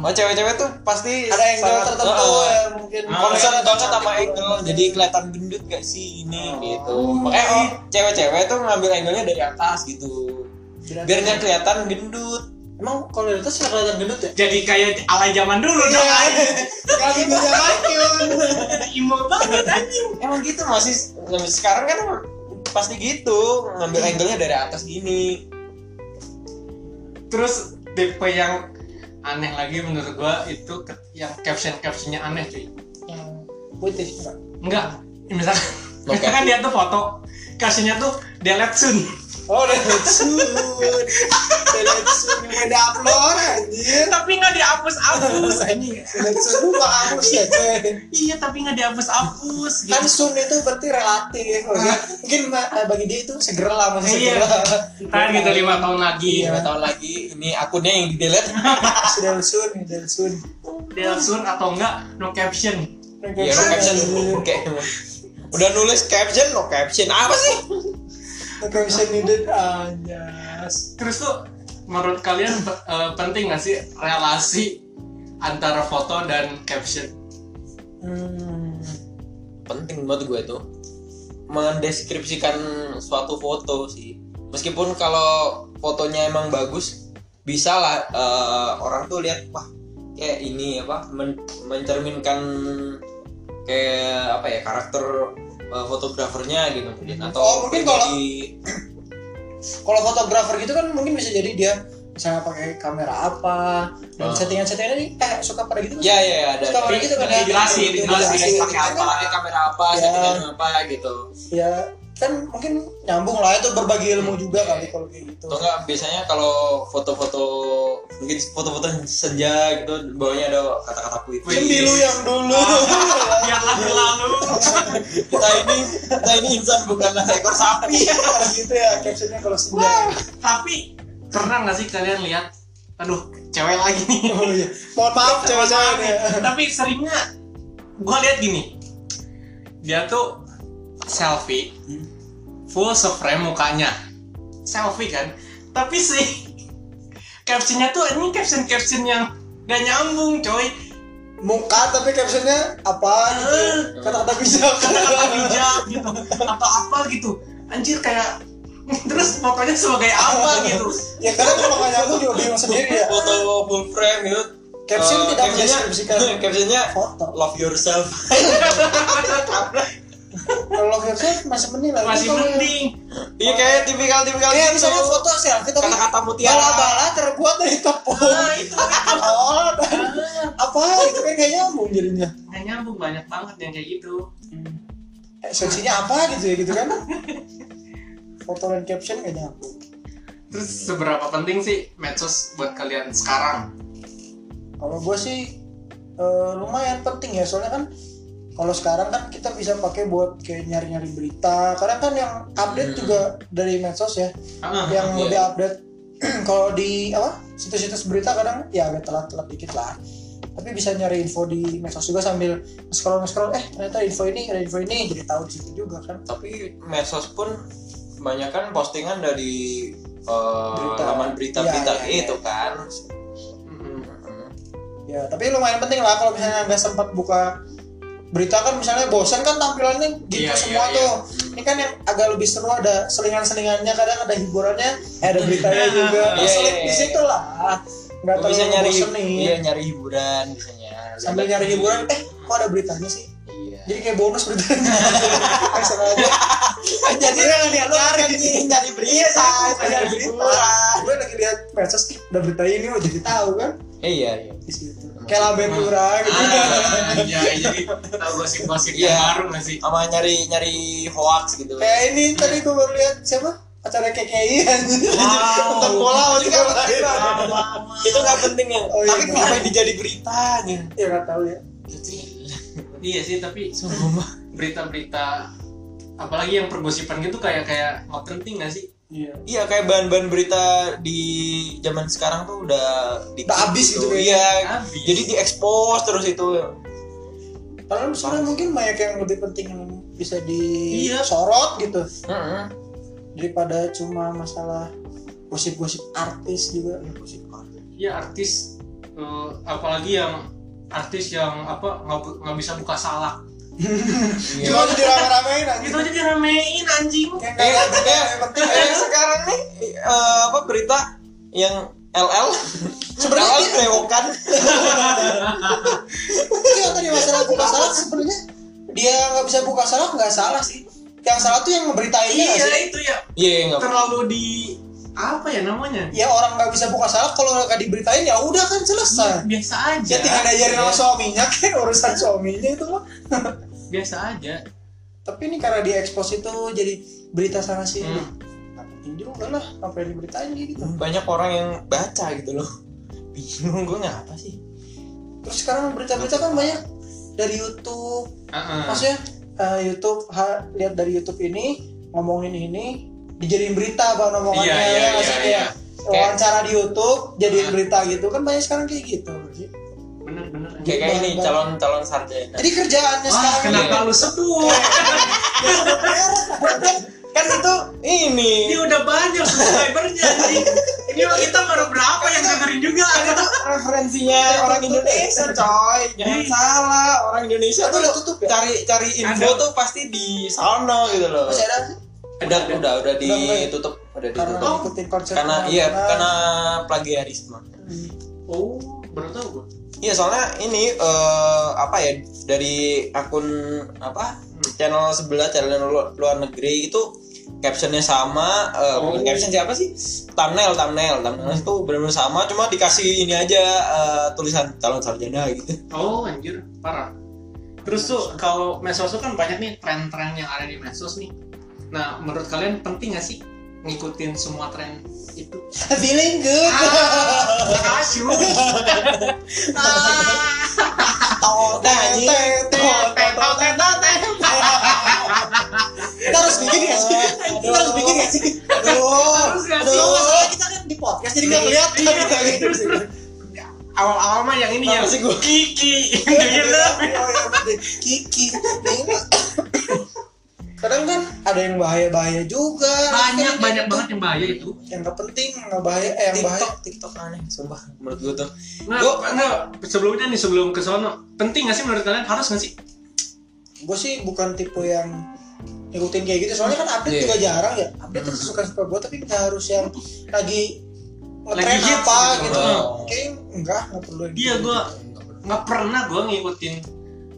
Speaker 1: Oh cewek-cewek tuh pasti
Speaker 2: Hmm. ada yang
Speaker 1: sangat-
Speaker 2: tertentu
Speaker 1: Heeh.
Speaker 2: ya mungkin
Speaker 3: Ah,
Speaker 1: concern
Speaker 2: Kalau
Speaker 1: banget sama
Speaker 2: cantik
Speaker 1: angle
Speaker 2: doang.
Speaker 1: jadi kelihatan gendut gak sih ini
Speaker 2: Oh.
Speaker 1: gitu makanya oh, cewek-cewek tuh ngambil angle-nya dari atas gitu
Speaker 2: Tidak
Speaker 1: biar nggak kelihatan gendut
Speaker 2: emang kalau dari atas nggak kelihatan gendut ya
Speaker 3: Jadi kayak alay zaman dulu dong. anjing.
Speaker 2: kalau gitu
Speaker 3: Iya,
Speaker 2: ya
Speaker 3: Imo banget anjing.
Speaker 1: emang gitu masih sampai sekarang kan emang pasti gitu ngambil angle-nya dari atas gini
Speaker 3: Terus tipe yang aneh lagi menurut gua itu ke- yang caption-captionnya aneh cuy.
Speaker 2: yang putih Pak.
Speaker 3: Enggak, misalkan,
Speaker 1: Oke.
Speaker 3: misalkan dia tuh foto kasihnya tuh delete soon.
Speaker 2: oh udah lucu udah lucu yang udah upload anjir
Speaker 3: tapi nggak dihapus-hapus anjing.
Speaker 2: udah lucu gua hapus ya coy
Speaker 3: Iya, tapi nggak dihapus-hapus.
Speaker 2: kan
Speaker 3: Gitu.
Speaker 2: soon itu berarti relatif mungkin ma- bagi dia itu segera lah masih
Speaker 3: Iya.
Speaker 2: segera
Speaker 3: Ntar gitu lima tahun lagi.
Speaker 1: lima tahun lagi ini akunnya yang di delete
Speaker 2: sudah soon sudah soon
Speaker 3: Delete soon atau enggak no caption.
Speaker 1: ya no caption
Speaker 2: Iya.
Speaker 1: kayak udah nulis caption no caption apa sih
Speaker 2: no caption needed anjas
Speaker 3: Terus tuh menurut kalian eh, penting nggak sih relasi antara foto dan caption?
Speaker 2: hmm.
Speaker 1: penting buat gue itu mendeskripsikan suatu foto sih meskipun kalau fotonya emang bagus bisa lah eh, orang tuh lihat wah kayak ini apa men- mencerminkan kayak apa ya karakter eh, fotografernya gitu mungkin atau
Speaker 2: Oh, mungkin kalau-
Speaker 1: jadi-
Speaker 2: kalau fotografer gitu kan mungkin bisa jadi dia misalnya pakai kamera apa dan
Speaker 1: Ah.
Speaker 2: settingan-settingannya nih eh suka pada gitu kan?
Speaker 1: ya ya ada
Speaker 2: suka pada gitu kan ya?
Speaker 3: dijelasin,
Speaker 2: Gitu,
Speaker 3: dijelasin,
Speaker 2: dijelasin.
Speaker 1: pakai apa pakai kamera apa
Speaker 2: Ya.
Speaker 1: settingan apa gitu
Speaker 2: ya kan mungkin nyambung lah itu berbagi ilmu
Speaker 1: Iya.
Speaker 2: juga kali kalau kayak gitu
Speaker 1: atau enggak biasanya kalau foto-foto mungkin foto-foto senja gitu bawahnya ada kata-kata puisi
Speaker 2: Sembilu yang dulu
Speaker 1: Ah.
Speaker 3: Biarlah berlalu.
Speaker 1: kita ini kita ini insan bukanlah seekor sapi
Speaker 2: gitu ya captionnya kalau senja
Speaker 3: tapi pernah nggak sih kalian lihat? Aduh, cewek lagi nih.
Speaker 2: Oh iya. Mohon maaf cewek-cewek nih.
Speaker 3: tapi seringnya gue lihat gini dia tuh selfie
Speaker 2: Hmm.
Speaker 3: full seframe mukanya selfie kan tapi si captionnya tuh ini caption caption yang gak nyambung coy
Speaker 2: Muka tapi captionnya apa gitu.
Speaker 1: Ah.
Speaker 2: Kata-kata bijak.
Speaker 3: kata-kata bijak gitu atau apa gitu anjir kayak terus fotonya sebagai apa gitu
Speaker 2: ya karena kalau makanya aku juga bingung sendiri ya.
Speaker 1: foto full frame gitu
Speaker 2: Caption
Speaker 1: Eh,
Speaker 2: tidak
Speaker 1: Ah. captionnya-
Speaker 2: mendeskripsikan
Speaker 1: captionnya
Speaker 2: foto.
Speaker 1: love yourself
Speaker 2: Kalau love yourself masih mending lah. Tapi
Speaker 3: masih
Speaker 2: kalau-
Speaker 3: mending
Speaker 1: iya kayak tipikal tipikal
Speaker 2: Iya misalnya foto selfie tapi
Speaker 1: kata-kata mutiara
Speaker 2: bala-bala terbuat dari tepung.
Speaker 3: nah itu
Speaker 2: Oh, dan- apa itu kan kayak nyambung jadinya.
Speaker 3: gak nyambung banyak banget yang kayak gitu
Speaker 2: Eh, Sensinya apa gitu ya gitu kan? Foto dan caption gak nyambung.
Speaker 3: terus seberapa penting sih medsos buat kalian sekarang
Speaker 2: kalau gue sih eh, lumayan penting ya soalnya kan kalau sekarang kan kita bisa pakai buat kayak nyari-nyari berita kadang kan yang update
Speaker 1: Hmm.
Speaker 2: juga dari medsos ya
Speaker 3: Ah,
Speaker 2: yang
Speaker 1: iya.
Speaker 2: lebih update kalau di apa situs-situs berita kadang ya agak telat-telat dikit lah tapi bisa nyari info di medsos juga sambil scroll scroll eh ternyata info ini ada info ini jadi tahu di situ juga kan
Speaker 1: tapi medsos pun kebanyakan postingan dari
Speaker 2: Berita.
Speaker 1: berita. laman berita-berita
Speaker 2: Iya, iya,
Speaker 1: gitu kan
Speaker 3: Mm-mm.
Speaker 2: ya tapi lumayan penting lah kalau misalnya nggak sempat buka berita kan misalnya bosan kan tampilannya gitu
Speaker 3: Iya,
Speaker 2: semua
Speaker 3: iya,
Speaker 2: tuh ini kan yang agak lebih seru ada selingan-selingannya kadang ada hiburannya eh, ada beritanya juga
Speaker 1: Iya,
Speaker 2: Selip
Speaker 1: iya,
Speaker 2: di
Speaker 1: iya.
Speaker 2: situ lah nggak
Speaker 1: Lu
Speaker 2: terlalu
Speaker 1: bisa nyari
Speaker 2: bosenin.
Speaker 1: iya nyari hiburan biasanya
Speaker 2: sambil nyari hiburan eh kok ada beritanya sih
Speaker 1: iya
Speaker 2: jadi kayak bonus beritanya Eh, sama aja
Speaker 1: jadi
Speaker 2: Iya, lihat
Speaker 1: lu
Speaker 2: nyari.
Speaker 1: kan nyari berita
Speaker 2: nyari
Speaker 1: nyari
Speaker 2: berita
Speaker 1: hiburan
Speaker 2: gue lagi lihat medsos ih, ada berita ini oh jadi tahu kan
Speaker 1: iya iya
Speaker 2: di situ kayak lambe
Speaker 1: Nah.
Speaker 2: kurang gitu.
Speaker 3: Ah, Iya, jadi tahu gosip-gosip yang
Speaker 1: Iya.
Speaker 3: baru nggak sih?
Speaker 1: sama nyari nyari hoax gitu
Speaker 2: kayak ini tadi gue baru lihat siapa acara KKI anjir.
Speaker 1: Wow.
Speaker 2: Nonton bola waktu
Speaker 1: Itu
Speaker 2: kan.
Speaker 1: nggak penting. Oh. Itu nggak Iya, penting ya.
Speaker 2: Oh, iya.
Speaker 1: Tapi kenapa dijadi beritanya?
Speaker 2: Ya enggak tahu ya.
Speaker 3: iya sih tapi
Speaker 1: Sombong banget.
Speaker 3: berita-berita apalagi yang pergosipan gitu kayak kayak nggak penting nggak sih
Speaker 2: Iya.
Speaker 1: Iya kayak bahan-bahan berita di zaman sekarang tuh udah di
Speaker 2: Udah habis gitu kayaknya.
Speaker 1: Iya.
Speaker 3: habis
Speaker 1: Jadi diekspos terus itu.
Speaker 2: Padahal sebenarnya mungkin banyak yang lebih penting yang bisa
Speaker 3: Iya.
Speaker 2: disorot gitu
Speaker 1: Heeh.
Speaker 2: daripada cuma masalah gosip-gosip artis juga. Ya, gosip artis.
Speaker 3: ya artis eh, apalagi yang artis yang apa nggak bu- nggak bisa buka salak
Speaker 1: Iya.
Speaker 2: Cuma itu dirame-ramein anjir.
Speaker 3: itu aja diramein anjing
Speaker 2: Kayak
Speaker 1: Eh,
Speaker 2: nggak ada
Speaker 1: eh,
Speaker 2: yang penting.
Speaker 1: eh, sekarang nih eh, apa berita yang LL
Speaker 2: Sebenarnya gitu.
Speaker 1: LL
Speaker 2: dia-
Speaker 1: berewokan
Speaker 2: Itu yang Iya, tadi masalah buka salak sebenarnya dia nggak bisa buka salak nggak salah sih. Yang salah tuh yang ngeberitainnya nggak sih?
Speaker 3: iya itu ya
Speaker 1: Iya nggak
Speaker 3: terlalu di apa ya namanya
Speaker 2: ya orang nggak bisa buka salak kalau nggak diberitain ya udah kan selesai
Speaker 3: biasa aja Iya.
Speaker 2: ya tinggal diajarin sama suaminya kan urusan suaminya itu mah
Speaker 3: biasa aja
Speaker 2: tapi ini karena di expose itu jadi berita sana sini
Speaker 3: Hmm.
Speaker 2: Nggak penting juga lah apa yang diberitain gitu
Speaker 1: banyak orang yang baca gitu loh bingung gue ngapa sih
Speaker 2: terus sekarang berita-berita kan banyak dari YouTube
Speaker 3: Heeh.
Speaker 2: maksudnya eh, YouTube ha- lihat dari YouTube ini ngomongin ini dijadiin berita bang omongannya
Speaker 3: Iya, iya,
Speaker 2: ya nggak
Speaker 3: iya,
Speaker 2: sih?
Speaker 3: iya. Nah.
Speaker 2: Kayak wawancara di YouTube jadiin berita gitu kan banyak sekarang kayak gitu
Speaker 3: bener bener
Speaker 1: kayak kayak ini calon calon sarjana
Speaker 2: jadi kerjaannya
Speaker 3: Wah,
Speaker 2: sekarang
Speaker 3: kenapa lu sebut
Speaker 1: kan itu ini
Speaker 3: ini udah banyak subscribernya anjing ini mah kita baru berapa yang dengerin juga gitu
Speaker 1: kan referensinya orang Iya, Indonesia coy jangan
Speaker 3: Iya.
Speaker 1: salah orang Indonesia
Speaker 2: itu
Speaker 1: tuh
Speaker 2: udah tutup ya
Speaker 1: cari cari info
Speaker 3: Ada.
Speaker 1: tuh pasti di sana gitu loh
Speaker 2: masih ada sih?
Speaker 1: udah udah udah
Speaker 2: Udah, udah.
Speaker 1: ditutup udah
Speaker 2: karena
Speaker 1: ditutup
Speaker 2: ngikutin konsep
Speaker 1: karena iya
Speaker 2: pengamanan.
Speaker 1: karena plagiarisme
Speaker 2: Hmm.
Speaker 3: oh baru tahu gua
Speaker 1: Iya soalnya ini eh, apa ya dari akun apa channel sebelah channel lu- luar negeri itu captionnya sama eh,
Speaker 3: Oh.
Speaker 1: bukan caption siapa sih thumbnail thumbnail thumbnail itu benar-benar sama cuma dikasih ini aja eh, tulisan calon sarjana gitu
Speaker 3: Oh anjir, parah. Terus tuh kalau medsos tuh kan banyak nih tren-tren yang ada di medsos nih. Nah, menurut kalian penting gak sih ngikutin semua tren itu?
Speaker 2: feeling good
Speaker 3: Ah, Asyik. Ah.
Speaker 2: tau
Speaker 1: Nah, anjing.
Speaker 2: kita harus bikin nggak sih kita harus bikin nggak sih
Speaker 3: Harus nggak sih?
Speaker 2: aduh masalah kita kan di podcast jadi nggak kelihatan kita gitu
Speaker 3: Awal-awal mah yang ini
Speaker 1: Apa
Speaker 3: ya.
Speaker 1: sih gua?
Speaker 3: Kiki.
Speaker 2: Oh, iya, bener. Kiki Nah, ini kadang kan ada yang bahaya-bahaya juga Kayak
Speaker 3: Banyak banyak
Speaker 2: gitu.
Speaker 3: banget yang bahaya itu.
Speaker 2: yang gak penting nggak bahaya eh yang bahaya
Speaker 1: TikTok TikTok aneh sumpah menurut gua tuh
Speaker 3: Nah,
Speaker 1: Gua-
Speaker 3: enggak, sebelumnya nih sebelum ke sono, penting gak sih menurut kalian? Harus gak sih?
Speaker 2: gue sih bukan tipe yang ngikutin kayak gitu soalnya kan update
Speaker 1: Iya.
Speaker 2: juga jarang ya update
Speaker 3: Hmm.
Speaker 2: terus suka suka gue tapi nggak harus yang lagi ngetren
Speaker 3: Lagi hits
Speaker 2: apa
Speaker 3: gitu.
Speaker 2: gitu
Speaker 1: Oh.
Speaker 2: kayak enggak nggak perlu yang
Speaker 3: Iya,
Speaker 2: gitu.
Speaker 3: gua- nggak pernah gue ngikutin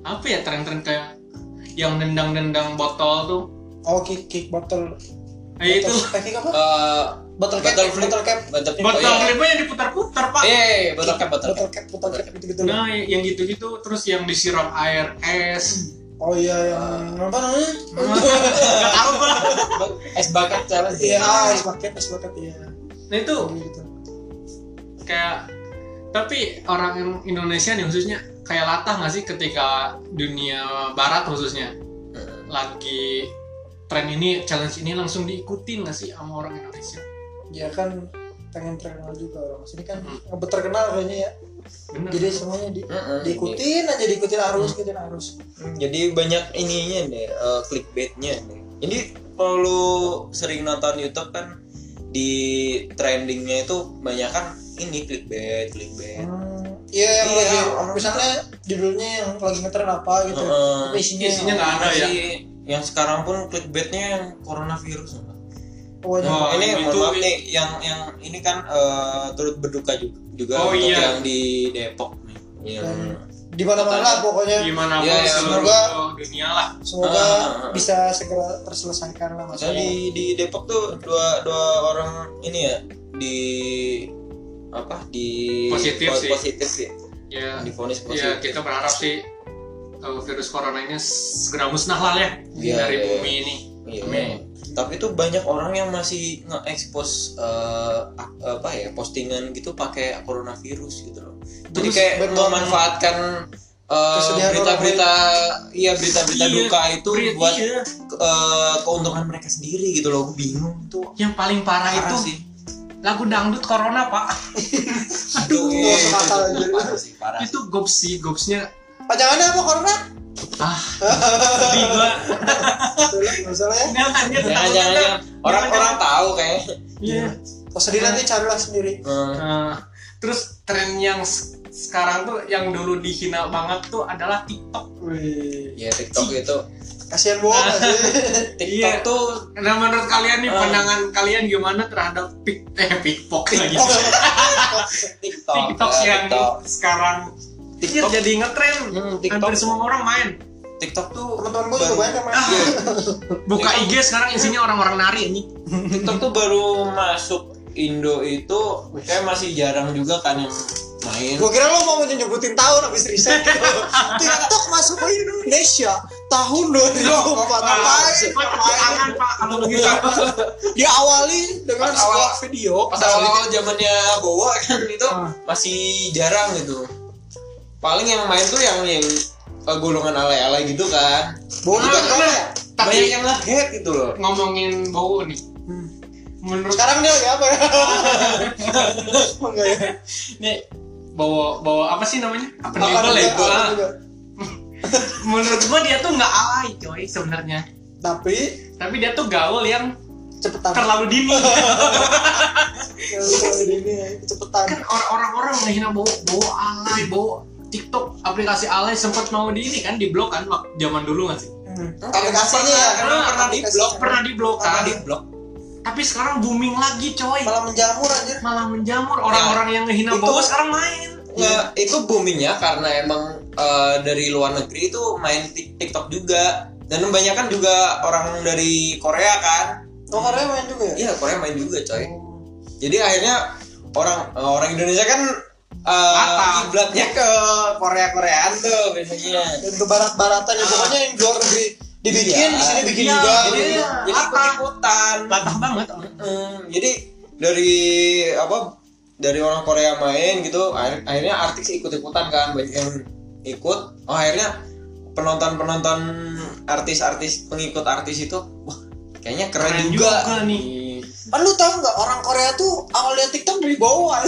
Speaker 3: apa ya tren-tren kayak yang nendang-nendang botol tuh
Speaker 2: oh kick kick botol
Speaker 3: eh, itu
Speaker 2: botol- eh, kick apa
Speaker 1: Eh,
Speaker 2: botol cap
Speaker 1: Botol flip.
Speaker 2: botol cap
Speaker 1: botol
Speaker 3: botol
Speaker 1: oh, iya.
Speaker 3: klipnya yang diputar-putar pak
Speaker 1: Iya, iya, iya, botol cap botol cap
Speaker 2: botol cap botol cap gitu gitu
Speaker 3: nah yang gitu-gitu terus yang disiram air es Nah,
Speaker 2: oh iya yang apa namanya
Speaker 3: Hmm. nggak tahu pak
Speaker 1: es bakat Ah. challenge
Speaker 2: iya es bucket es bucket iya
Speaker 3: nah itu
Speaker 2: gitu
Speaker 3: kayak tapi orang Indonesia nih khususnya kayak latah nggak sih ketika dunia barat khususnya lagi tren ini challenge ini langsung diikutin nggak sih sama orang Indonesia
Speaker 2: ya kan pengen terkenal juga orang sini kan
Speaker 3: Hmm. Nah.
Speaker 2: ngebet terkenal kayaknya ya
Speaker 3: bener
Speaker 2: jadi semuanya di-
Speaker 1: Mm-mm.
Speaker 2: diikutin aja diikutin arus ikutin arus
Speaker 1: jadi banyak ininya deh eh, clickbaitnya deh. jadi kalau lu sering nonton YouTube kan di trendingnya itu banyak kan ini clickbait clickbait
Speaker 2: Hmm, Iya yang
Speaker 1: Iya,
Speaker 2: lagi
Speaker 1: orang-
Speaker 2: misalnya judulnya yang lagi ngetren apa gitu.
Speaker 1: Heeh.
Speaker 2: Tapi isinya,
Speaker 3: isinya nggak ada ya
Speaker 1: Masih- yang sekarang pun clickbaitnya yang coronavirus
Speaker 2: Oh, ada.
Speaker 3: Oh,
Speaker 1: ini
Speaker 3: itu-
Speaker 1: mohon maaf nih yang yang ini kan eh, turut berduka juga, juga
Speaker 3: Oh,
Speaker 1: untuk
Speaker 3: iya.
Speaker 1: yang di Depok nih Iya. yang
Speaker 2: di mana-mana lah pokoknya
Speaker 3: gimana pun
Speaker 1: Ya, ya,
Speaker 3: seluruh dunia lah
Speaker 2: semoga
Speaker 1: Ah.
Speaker 2: bisa segera terselesaikan lah
Speaker 1: Maksudnya di
Speaker 2: masalahnya.
Speaker 1: di Depok tuh dua dua orang ini ya di apa di
Speaker 3: Positif
Speaker 1: po-
Speaker 3: sih.
Speaker 1: positif sih Iya,
Speaker 3: ya
Speaker 1: difonis
Speaker 3: Ya
Speaker 1: positif
Speaker 3: kita eh, berharap sih uh, virus corona ini segera musnah lah ya
Speaker 1: Iya,
Speaker 3: dari
Speaker 1: iya,
Speaker 3: bumi ini.
Speaker 1: Iya.
Speaker 3: Amin.
Speaker 1: Tapi tuh banyak orang yang masih nge-expose eh, ak- apa ya postingan gitu pakai coronavirus gitu loh. Jadi
Speaker 2: Terus
Speaker 1: kayak
Speaker 2: benar.
Speaker 1: memanfaatkan eh,
Speaker 2: Kesedihan orang
Speaker 1: berita-berita iya berita-berita
Speaker 3: Iya,
Speaker 1: duka itu
Speaker 3: Pri-
Speaker 1: buat
Speaker 3: iya.
Speaker 1: eh, keuntungan mereka sendiri gitu loh. Gue bingung tuh.
Speaker 3: yang paling
Speaker 1: Parah
Speaker 3: parah Nah, itu
Speaker 1: sih.
Speaker 3: lagu dangdut corona pak
Speaker 1: Aduh,
Speaker 2: Nggak
Speaker 1: iya,
Speaker 2: usah
Speaker 1: itu-
Speaker 2: nakal,
Speaker 1: itu
Speaker 2: anjir.
Speaker 1: parah sih, parah.
Speaker 3: itu gops sih gopsnya
Speaker 2: Pajangannya apa corona?
Speaker 3: sedih gua
Speaker 2: Itulah, nggak usah lah ya.
Speaker 3: jangan
Speaker 1: Jangan
Speaker 3: jangan takut,
Speaker 1: jangan
Speaker 3: jangan.
Speaker 1: jangan. orang-orang tahu kayak.
Speaker 3: Iya.
Speaker 2: Kau sendiri nanti carilah sendiri.
Speaker 1: Hmm.
Speaker 3: Nah, terus tren yang s- sekarang tuh yang dulu dihina banget tuh adalah TikTok.
Speaker 2: Wih,
Speaker 1: ya TikTok itu.
Speaker 2: kasihan
Speaker 1: Ah.
Speaker 2: bohong aja.
Speaker 1: TikTok
Speaker 3: Iya.
Speaker 1: tuh
Speaker 3: Nah menurut kalian nih
Speaker 1: Ah.
Speaker 3: pandangan kalian gimana terhadap pik eh pikpok lagi?
Speaker 2: Oh,
Speaker 1: TikTok.
Speaker 3: TikTok
Speaker 1: eh,
Speaker 3: yang
Speaker 1: TikTok.
Speaker 3: sekarang
Speaker 1: TikTok.
Speaker 3: TikTok jadi ngetren.
Speaker 1: Hmm,
Speaker 3: Hampir
Speaker 1: TikTok
Speaker 3: semua orang main.
Speaker 1: TikTok tuh
Speaker 2: Teman-teman gue juga
Speaker 1: baru-
Speaker 2: banyak yang main.
Speaker 1: Iya,
Speaker 3: Buka IG sekarang isinya orang-orang nari ini.
Speaker 1: TikTok tuh baru masuk Indo itu kayak masih jarang juga kan yang main.
Speaker 2: Gue kira lo mau nyebutin tahun habis riset gitu. TikTok masuk ke Indonesia tahun 2024
Speaker 1: Ah.
Speaker 2: ngapain?
Speaker 3: Pak, Ah, jangan pak kalau begitu.
Speaker 2: Diawali dengan
Speaker 1: Pas awal-
Speaker 2: sebuah video.
Speaker 1: Pas awal-awal zamannya Bowo kan itu
Speaker 3: Ah.
Speaker 1: masih jarang gitu. Paling yang main tuh yang yang eh, golongan alay-alay gitu kan.
Speaker 2: Bodoh kan
Speaker 3: Nah,
Speaker 2: corona.
Speaker 1: Banyak
Speaker 3: Tapi
Speaker 1: yang ngehead gitu loh.
Speaker 3: ngomongin bau nih.
Speaker 2: Hmm.
Speaker 3: Menurut
Speaker 2: Sekarang dia lagi apa ya? Enggak ya.
Speaker 3: nih bawa bawa apa sih namanya? Apa
Speaker 2: Makan
Speaker 3: label ya?
Speaker 2: juga,
Speaker 3: Ah.
Speaker 2: makan juga.
Speaker 3: menurut gua dia tuh nggak alay coy sebenarnya
Speaker 2: Tapi
Speaker 3: tapi dia tuh gaul yang
Speaker 2: cepetan.
Speaker 3: terlalu dini
Speaker 2: Ya, udah, ini, Cepetan.
Speaker 3: kan or- orang-orang menghina bawa bawa alay bawa TikTok aplikasi alay sempat mau di ini kan di blok kan wak- zaman dulu nggak sih
Speaker 2: Aplikasinya ya.
Speaker 1: Karena
Speaker 3: Ah,
Speaker 1: pernah di blok,
Speaker 3: pernah di blok
Speaker 1: pernah
Speaker 3: kan
Speaker 1: di blok.
Speaker 3: tapi sekarang booming lagi coy
Speaker 2: Malah menjamur anjir.
Speaker 3: malah menjamur orang-orang yang ngehina
Speaker 1: Itu-
Speaker 3: bawa sekarang main
Speaker 1: Nggak, Nah, itu boomingnya karena emang eh, dari luar negeri itu main tik- TikTok juga dan kebanyakan juga orang dari Korea kan
Speaker 2: Oh, karena main juga ya?
Speaker 1: iya Korea main juga coy jadi akhirnya orang eh, orang Indonesia kan eh,
Speaker 3: Apa?
Speaker 1: kiblatnya ke Korea Koreaan tuh biasanya
Speaker 2: Dan ke barat-baratan ya pokoknya yang di luar negeri dibikin,
Speaker 1: Iya.
Speaker 2: di sini bikin
Speaker 3: Iya,
Speaker 2: juga.
Speaker 1: jadi
Speaker 2: gitu.
Speaker 3: iya.
Speaker 1: jadi
Speaker 3: Apa?
Speaker 1: ikut-ikutan
Speaker 3: latah banget
Speaker 1: Mm, jadi dari apa dari orang Korea main gitu akhir- akhirnya artis ikut-ikutan kan banyak yang ikut oh akhirnya penonton-penonton artis-artis pengikut artis itu wah kayaknya keren,
Speaker 3: Keren
Speaker 1: juga,
Speaker 3: juga nih.
Speaker 2: Kan lu tau nggak orang Korea tuh awal liat TikTok dari bawah.
Speaker 3: Ah.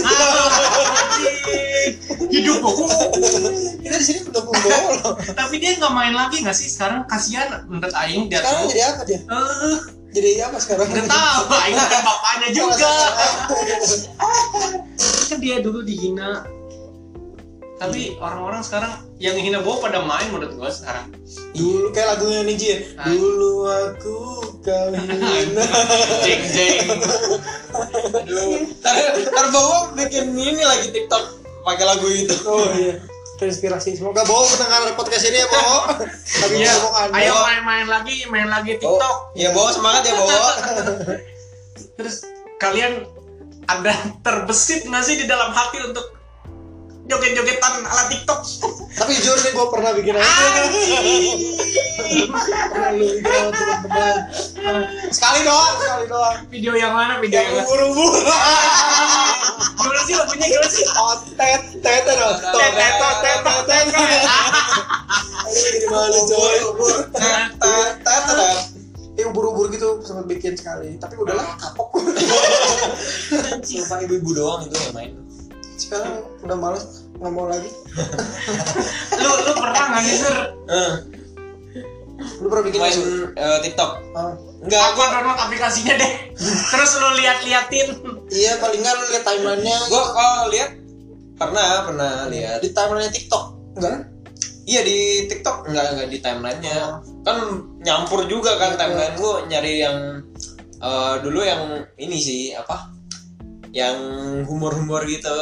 Speaker 3: hidup kok
Speaker 2: Kita di sini mendukung bawah loh.
Speaker 3: tapi dia nggak main lagi nggak sih sekarang kasihan menurut Aing dia
Speaker 2: Sekarang
Speaker 3: tuh
Speaker 2: jadi apa dia?
Speaker 3: Eh,
Speaker 2: Jadi apa sekarang?
Speaker 3: Nggak tahu, Aing kan bapaknya juga. Kan dia dulu dihina. Tapi orang-orang sekarang yang hina bawa pada main menurut gua sekarang.
Speaker 2: Dulu kayak lagunya Niji ya.
Speaker 3: Ah.
Speaker 2: Dulu aku kau hina.
Speaker 3: Jeng jeng.
Speaker 1: terbawa bikin ini lagi TikTok pakai lagu itu
Speaker 2: Oh iya. Terinspirasi. Semoga Bo mendengar podcast ini ya Bo. Tapi
Speaker 3: Iya,
Speaker 2: ngomong Anda.
Speaker 3: ayo main-main lagi, main lagi TikTok.
Speaker 1: ya bawa semangat ya bawa
Speaker 3: Terus kalian ada terbesit nggak sih di dalam hati untuk joget-jogetan ala TikTok?
Speaker 2: Tapi jujur nih gue pernah bikin aja.
Speaker 3: Anjing.
Speaker 2: Pernah lu bikin aja, teman-teman. Sekali doang, sekali doang.
Speaker 3: Video yang mana? Video
Speaker 2: Yang
Speaker 3: yang mana?
Speaker 2: buru-buru.
Speaker 3: Gimana sih lagunya? Gimana sih?
Speaker 2: Otet, tete dong. Tet, tet, tet, tet, tet. Aduh, jadi malu coy.
Speaker 3: Nah,
Speaker 1: Tet, tet, tet, tet.
Speaker 2: Eh buru-buru gitu sempat bikin sekali, tapi udahlah kapok.
Speaker 1: Sumpah ibu-ibu doang itu yang main
Speaker 2: Sekarang udah males nggak mau lagi.
Speaker 3: Lu lu pernah nggak sih, Sur?
Speaker 1: Eh,
Speaker 2: Lu pernah bikin
Speaker 1: main
Speaker 2: nggak, Sur?
Speaker 1: eh, TikTok
Speaker 2: Ah.
Speaker 1: enggak
Speaker 3: aku
Speaker 1: aku
Speaker 3: download aplikasinya deh terus lu lihat-liatin
Speaker 2: Iya paling nggak lu lihat timelinenya.
Speaker 1: gua kalau lihat pernah pernah lihat
Speaker 2: di timelinenya TikTok. Enggak.
Speaker 1: Iya di TikTok nggak nggak di timelinenya kan nyampur juga kan
Speaker 2: Oh. Iya.
Speaker 1: timeline gua nyari yang eh, dulu yang ini sih apa yang humor-humor gitu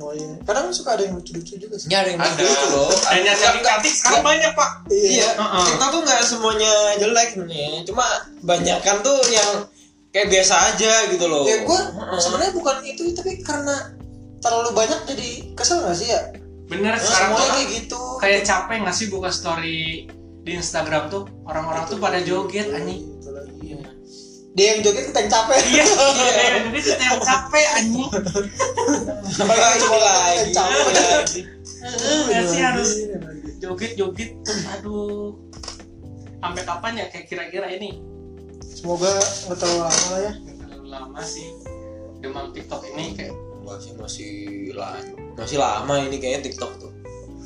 Speaker 2: Oh, iya. Kadang suka ada yang lucu-lucu juga sih.
Speaker 1: nyari yang
Speaker 3: Ada.
Speaker 1: gitu loh
Speaker 3: dan yang
Speaker 1: Nggak- nggak-
Speaker 3: cantik sekarang banyak pak
Speaker 1: iya
Speaker 3: Heeh.
Speaker 1: TikTok tuh nggak semuanya jelek nih cuma banyak kan tuh yang kayak biasa aja gitu loh
Speaker 2: Ya gue
Speaker 1: Heeh.
Speaker 2: sebenarnya bukan itu tapi karena terlalu banyak jadi kesel gak sih ya?
Speaker 3: bener sekarang
Speaker 2: Semuanya
Speaker 3: tuh
Speaker 2: kayak gitu.
Speaker 3: kayak capek nggak sih buka story di Instagram tuh orang-orang tuh pada joget anjing
Speaker 2: Gitu lagi. dia yang joget kita yang capek
Speaker 3: iya iya jadi kita yang capek anjing
Speaker 1: Apalagi
Speaker 2: Iya,
Speaker 1: coba lagi. Iya,
Speaker 3: Eh, nggak sih harus
Speaker 2: Iya,
Speaker 3: joget joget aduh sampai kapan ya kayak kira-kira ini
Speaker 2: semoga nggak terlalu lama lah ya
Speaker 3: Nggak terlalu lama sih demam TikTok ini kayak
Speaker 1: Masih masih lama. Masih lama ini kayaknya TikTok tuh.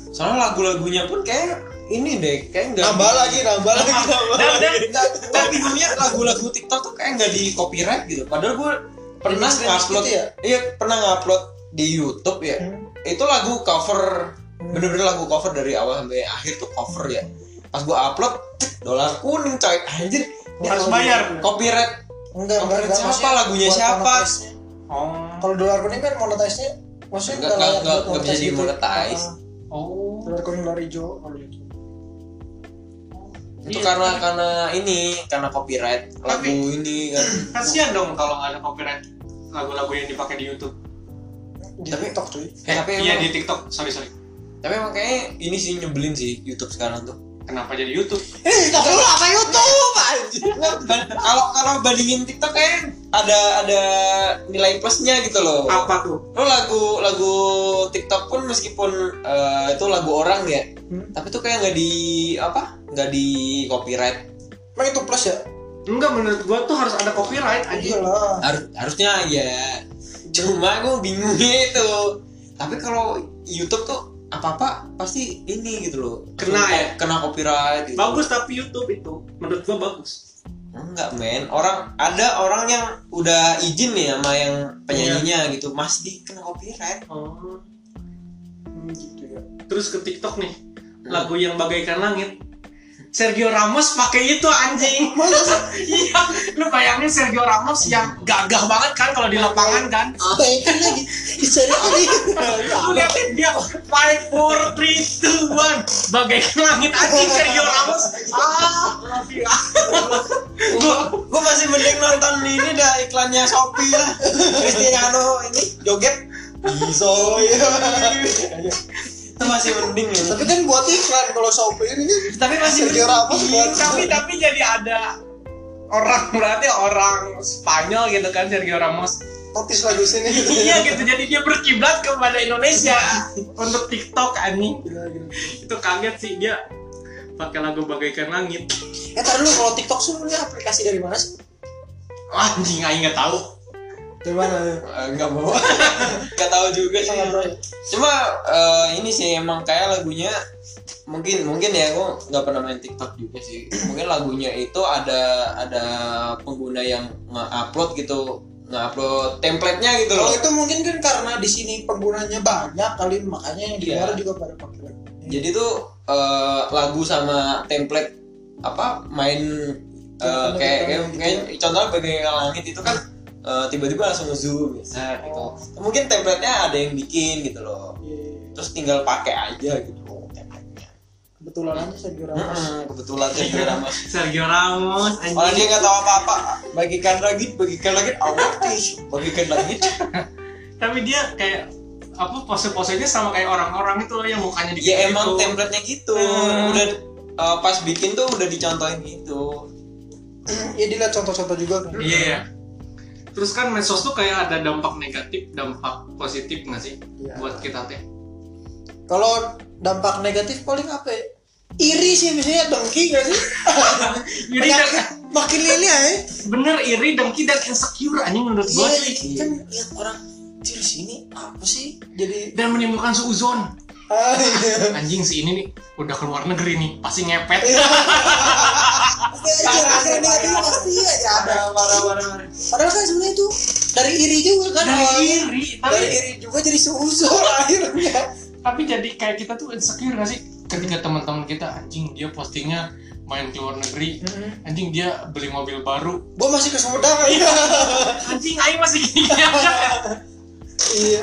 Speaker 1: Soalnya lagu-lagunya pun kayak ini deh, kayak enggak
Speaker 2: nambah lagi nambah lagi nambah
Speaker 3: dan dan
Speaker 1: Gue bingungnya lagu-lagu TikTok tuh kayak nggak di copyright gitu. Padahal gue pernah
Speaker 2: Remix-remix
Speaker 1: ngupload,
Speaker 2: gitu ya?
Speaker 1: iya pernah ngupload di YouTube ya. Itu lagu cover, bener-bener lagu cover dari awal sampai akhir tuh cover ya. Pas gue upload, dolar kuning coy, anjir.
Speaker 2: Ini
Speaker 3: harus
Speaker 2: kalau-
Speaker 3: bayar
Speaker 1: Copyright,
Speaker 2: ya? enggak
Speaker 1: Copyright
Speaker 2: enggak enggak,
Speaker 1: siapa,
Speaker 2: maksudnya
Speaker 1: lagunya
Speaker 2: buat
Speaker 1: siapa?
Speaker 2: monetize-nya.
Speaker 3: oh
Speaker 2: kalau dolar kuning kan monetize-nya maksudnya
Speaker 1: Enggak- enggak-
Speaker 2: layak
Speaker 1: enggak- enggak
Speaker 2: buat
Speaker 1: bisa
Speaker 2: monetize gitu.
Speaker 1: dimonetize.
Speaker 2: Ah,
Speaker 3: oh
Speaker 2: dolar kuning dolar hijau kalau gitu. itu
Speaker 1: itu
Speaker 3: Iya,
Speaker 1: karena
Speaker 3: tapi-
Speaker 1: karena ini karena copyright lagu ini kan.
Speaker 3: kasihan dong kalau nggak ada copyright lagu-lagu yang dipakai di YouTube
Speaker 2: di
Speaker 1: Tapi-
Speaker 2: TikTok cuy
Speaker 1: Eh, tapi
Speaker 3: iya
Speaker 1: emang,
Speaker 3: di TikTok sorry sorry
Speaker 1: tapi emang kayaknya ini sih nyebelin sih YouTube sekarang tuh.
Speaker 3: kenapa jadi YouTube
Speaker 2: TikTok dulu Eh, apa YouTube
Speaker 1: Ban- kalau kalau bandingin TikTok kan ada ada nilai plusnya gitu loh.
Speaker 3: tuh
Speaker 1: Lo lagu lagu TikTok pun meskipun eh, itu lagu orang ya,
Speaker 2: Hmm.
Speaker 1: tapi tuh kayak nggak di apa? Nggak di copyright.
Speaker 2: emang itu plus ya
Speaker 3: enggak menurut gua tuh harus ada copyright aja
Speaker 2: iya lah
Speaker 1: Har- harusnya ya. Cuma gue bingungnya itu. Tapi kalau YouTube tuh apa apa pasti ini gitu loh.
Speaker 3: Kena ya?
Speaker 1: Kena copyright. Gitu.
Speaker 3: bagus tapi YouTube itu menurut gua bagus
Speaker 1: Enggak men, orang ada orang yang udah izin nih sama yang penyanyinya gitu masih di kena copyright.
Speaker 3: oh
Speaker 2: Hmm, gitu ya
Speaker 3: terus ke TikTok nih
Speaker 1: Hmm.
Speaker 3: lagu yang bagaikan langit Sergio Ramos pakai itu anjing iya lu bayangin Sergio Ramos yang gagah banget kan kalau di lapangan kan
Speaker 2: baikan Oh, iya lagi oh, iya. bisa
Speaker 3: lu liatin dia five four three two one bagaikan langit anjing Sergio Ramos ah love you.
Speaker 1: Gue masih mending nonton ini dah iklannya Shopee lah. Cristiano ini joget bisa ya. Itu masih mending ya.
Speaker 2: tapi kan buat iklan kalau Shopee ini kan
Speaker 1: Tapi masih
Speaker 2: Sergio
Speaker 1: mending.
Speaker 2: Ramos buat
Speaker 3: tapi tapi jadi ada orang berarti orang Spanyol gitu kan Sergio Ramos
Speaker 2: notis lagu sini gitu
Speaker 3: iya gitu jadi dia berkiblat kepada Indonesia untuk TikTok anjing itu kaget sih dia pakai lagu bagaikan langit
Speaker 2: Eh tar dulu kalau TikTok sih lu aplikasi dari mana sih?
Speaker 3: Wah, anjing aing nggak tahu
Speaker 2: Dari mana?
Speaker 1: Eh, Enggak mau. Enggak tahu juga sih.
Speaker 2: Sama bro.
Speaker 1: Cuma eh, ini sih emang kayak lagunya mungkin mungkin ya gua nggak pernah main TikTok juga sih. Mungkin lagunya itu ada ada pengguna yang nge-upload gitu, nge-upload template-nya gitu
Speaker 2: Kalau
Speaker 1: loh.
Speaker 2: itu mungkin kan karena di sini penggunanya banyak kali makanya yang di
Speaker 1: Iya.
Speaker 2: luar juga pada pakai lagu.
Speaker 1: Jadi tuh eh, lagu sama template apa main eh, kayak
Speaker 2: Contohnya kayak
Speaker 1: kayak,
Speaker 2: gitu
Speaker 1: kayak contohnya bagai langit itu kan eh, tiba-tiba langsung zoom ya, gitu. Mungkin template-nya ada yang bikin gitu loh.
Speaker 2: Iya.
Speaker 1: Terus tinggal pakai aja gitu loh template-nya.
Speaker 2: Kebetulan aja Sergio Ramos.
Speaker 1: Mm-mm, kebetulan Sergio Ramos.
Speaker 3: Sergio Ramos
Speaker 1: Orang Oh, dia
Speaker 3: anjing
Speaker 1: nggak tahu apa-apa. Bagikan lagi, bagikan lagi. Awatis, bagikan lagi.
Speaker 3: tapi dia kayak apa pose-posenya sama kayak orang-orang itu loh yang mukanya di
Speaker 1: Ya emang template-nya gitu.
Speaker 3: Hmm.
Speaker 1: Udah eh, pas bikin tuh udah dicontohin gitu.
Speaker 2: Ya dilihat contoh-contoh juga kan.
Speaker 3: iya iya. terus kan medsos tuh kayak ada dampak negatif dampak positif nggak sih
Speaker 1: Ya.
Speaker 2: Iya.
Speaker 3: buat kita teh
Speaker 2: Kalau dampak negatif paling apa ya? Iri sih biasanya dengki gak sih?
Speaker 3: iri
Speaker 2: Penyakit
Speaker 3: dan,
Speaker 2: makin lili ya.
Speaker 3: bener iri dengki dan insecure anjing menurut
Speaker 2: Iya,
Speaker 3: gue cuy.
Speaker 2: kan lihat orang di sini apa sih? Jadi
Speaker 3: dan menimbulkan suuzon
Speaker 2: ah, iya.
Speaker 3: anjing si ini nih udah keluar negeri nih pasti ngepet
Speaker 2: Iya. pasti aja pikiran negatif pasti aja ada marah marah padahal kan sebenarnya itu dari iri juga kan
Speaker 3: dari
Speaker 2: awalnya.
Speaker 3: iri tapi,
Speaker 2: dari iri juga jadi suuzon akhirnya
Speaker 3: tapi jadi kayak kita tuh insecure gak sih ketika teman-teman kita anjing dia postingnya main ke luar negeri
Speaker 2: Mm-hmm.
Speaker 3: anjing dia beli mobil baru
Speaker 2: gue masih ke Sumedang ya
Speaker 3: anjing aing masih gini aja
Speaker 2: iya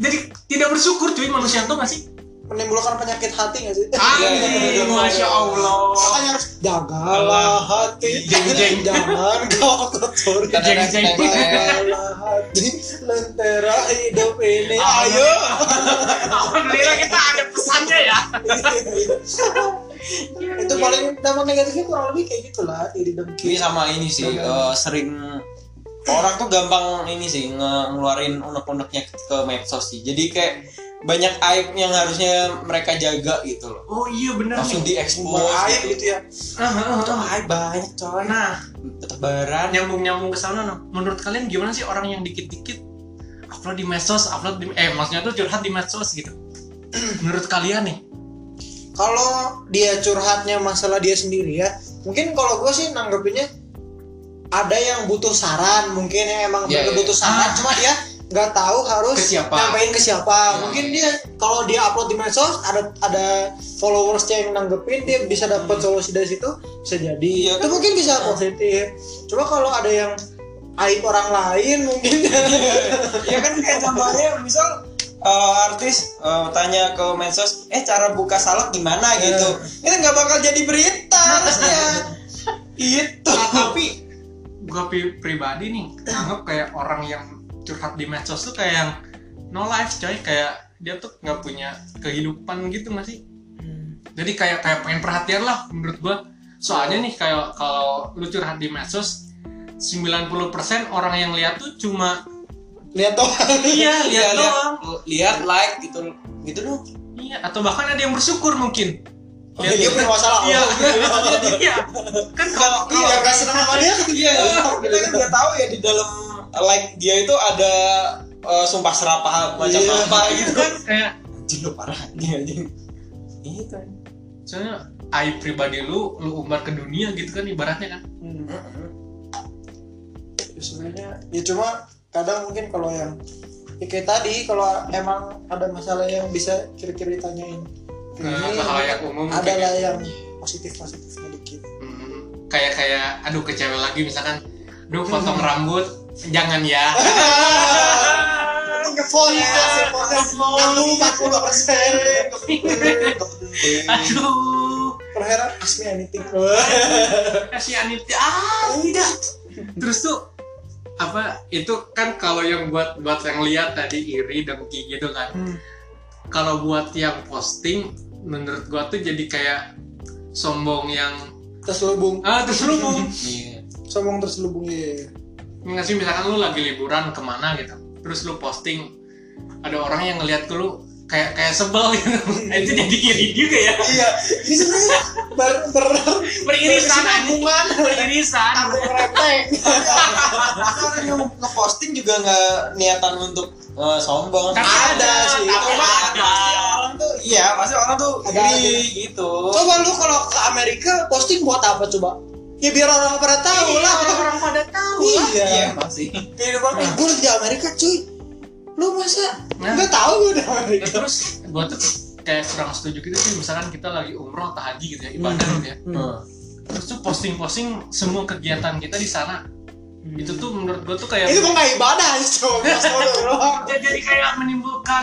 Speaker 3: jadi tidak bersyukur cuy manusia tuh gak sih
Speaker 2: menimbulkan penyakit hati gak sih
Speaker 1: iya, iya.
Speaker 3: anjing masya allah
Speaker 2: makanya harus jagalah hati
Speaker 3: Jeng, jeng.
Speaker 2: jangan kau kotori
Speaker 3: Jeng, jeng.
Speaker 2: jagalah hati lentera hidup ini ayo
Speaker 3: Ayo.
Speaker 1: Ah!
Speaker 3: alhamdulillah kita ada pesannya ya
Speaker 2: itu paling dampak negatifnya kurang lebih kayak gitulah jadi dengki
Speaker 1: Ini sama ini sih
Speaker 3: Iya.
Speaker 1: eh, sering orang tuh gampang ini sih nge- ngeluarin unek-uneknya ke- ke medsos sih. Jadi kayak banyak aib yang harusnya mereka jaga gitu loh.
Speaker 3: oh iya bener
Speaker 1: Langsung
Speaker 3: nih
Speaker 1: diekspos
Speaker 2: aib
Speaker 1: gitu.
Speaker 2: gitu ya
Speaker 3: Ah, ah, ah,
Speaker 2: itu
Speaker 3: ah.
Speaker 2: aib banyak coy
Speaker 3: nah
Speaker 1: Tebaran
Speaker 3: nyambung nyambung ke sana noh. menurut kalian gimana sih orang yang dikit dikit upload di medsos upload di eh maksudnya tuh curhat di medsos gitu menurut kalian nih
Speaker 2: kalau dia curhatnya masalah dia sendiri ya mungkin kalau gue sih nanggepinnya ada yang butuh saran mungkin yang emang
Speaker 1: Iya,
Speaker 2: bener
Speaker 1: iya.
Speaker 2: butuh saran
Speaker 3: Ah.
Speaker 2: cuma dia nggak tahu harus
Speaker 3: Ke siapa?
Speaker 2: nyampein ke siapa mungkin dia kalau dia upload di medsos ada ada followersnya yang nanggepin dia bisa dapat solusi dari situ bisa jadi
Speaker 1: Iya,
Speaker 2: itu mungkin bisa positif cuma kalau ada yang aib orang lain mungkin
Speaker 1: ya kan kayak contohnya misal eh, artis eh, tanya ke medsos eh cara buka salad
Speaker 3: Eh.
Speaker 1: gimana gitu itu nggak bakal jadi berita harusnya itu
Speaker 3: Nah, tapi gue pribadi nih anggap kayak orang yang curhat di medsos tuh kayak yang no life coy kayak dia tuh nggak punya kehidupan gitu nggak sih jadi kayak kayak pengen perhatian lah menurut gue soalnya nih kayak kalau lu curhat di medsos 90% orang yang lihat tuh cuma
Speaker 2: lihat tuh
Speaker 3: iya lihat
Speaker 1: Ya, lihat.
Speaker 3: doang
Speaker 1: lihat like gitu gitu dong
Speaker 3: iya atau bahkan ada yang bersyukur mungkin
Speaker 2: dia, dia punya
Speaker 1: Oh.
Speaker 2: masalah
Speaker 3: iya iya, iya kan kalau
Speaker 2: Iya,
Speaker 3: kalau
Speaker 2: gak senang sama dia
Speaker 1: iya kita kan nggak tahu ya di dalam like dia itu ada eh, sumpah serapah macam
Speaker 2: Iya.
Speaker 1: apa gitu kan
Speaker 3: kayak
Speaker 1: anjing lu parah anjing anjing itu
Speaker 3: soalnya aib pribadi lu lu umbar ke dunia gitu kan ibaratnya kan
Speaker 2: Hmm. Ya, sebenarnya ya cuma kadang mungkin kalau yang ya kayak tadi kalau emang ada masalah yang bisa kira-kira ditanyain
Speaker 3: ke ke hal yang umum ya.
Speaker 2: ada
Speaker 3: kayak
Speaker 2: lah yang positif positifnya dikit
Speaker 3: Hmm,
Speaker 1: Mm-hmm.
Speaker 3: kayak kayak aduh ke cewek lagi misalkan duh potong rambut jangan ya
Speaker 2: ngefon ya aku empat puluh persen
Speaker 3: aduh
Speaker 2: perhera ask me anything
Speaker 3: kasih anit ah tidak terus tuh apa itu kan kalau yang buat buat yang lihat tadi iri dengki gitu kan
Speaker 2: Hmm.
Speaker 3: kalau buat yang posting menurut gua tuh jadi kayak sombong yang
Speaker 2: terselubung
Speaker 3: ah terselubung
Speaker 1: iya
Speaker 2: sombong terselubung ya
Speaker 3: nggak sih misalkan lu lagi liburan kemana gitu terus lu posting ada orang yang ngeliat ke lu kayak kayak sebel gitu itu jadi iri juga ya
Speaker 2: iya ini sebenarnya ber ber
Speaker 3: beririsan anjing.
Speaker 2: berkesinambungan.
Speaker 3: beririsan
Speaker 2: Aku ngerepek
Speaker 1: orang Kan yang ngeposting juga nggak niatan untuk eh, sombong
Speaker 3: Tapi
Speaker 2: ada sih,
Speaker 3: Kan tapi
Speaker 2: cuma
Speaker 3: ada
Speaker 1: orang tuh iya pasti orang tuh
Speaker 2: Ada
Speaker 1: iri gitu
Speaker 2: Coba lu kalau ke Amerika posting buat apa coba? Ya biar orang pada tahu lah.
Speaker 3: Iya, orang pada tahu
Speaker 2: Iya.
Speaker 1: iya masih
Speaker 2: Biar orang eh, gue lagi di Amerika cuy. Lu masa
Speaker 3: Nah.
Speaker 2: nggak tahu gue di Amerika?
Speaker 3: terus gua tuh kayak kurang setuju gitu sih misalkan kita lagi umroh atau haji gitu ya ibadah gitu ya
Speaker 2: Hmm.
Speaker 3: terus tuh posting-posting semua kegiatan kita di sana Hmm. itu tuh menurut gua tuh kayak
Speaker 2: Itu mah nggak ibadah sih coba. Nggak tahu lu doang.
Speaker 3: Dia jadi kayak menimbulkan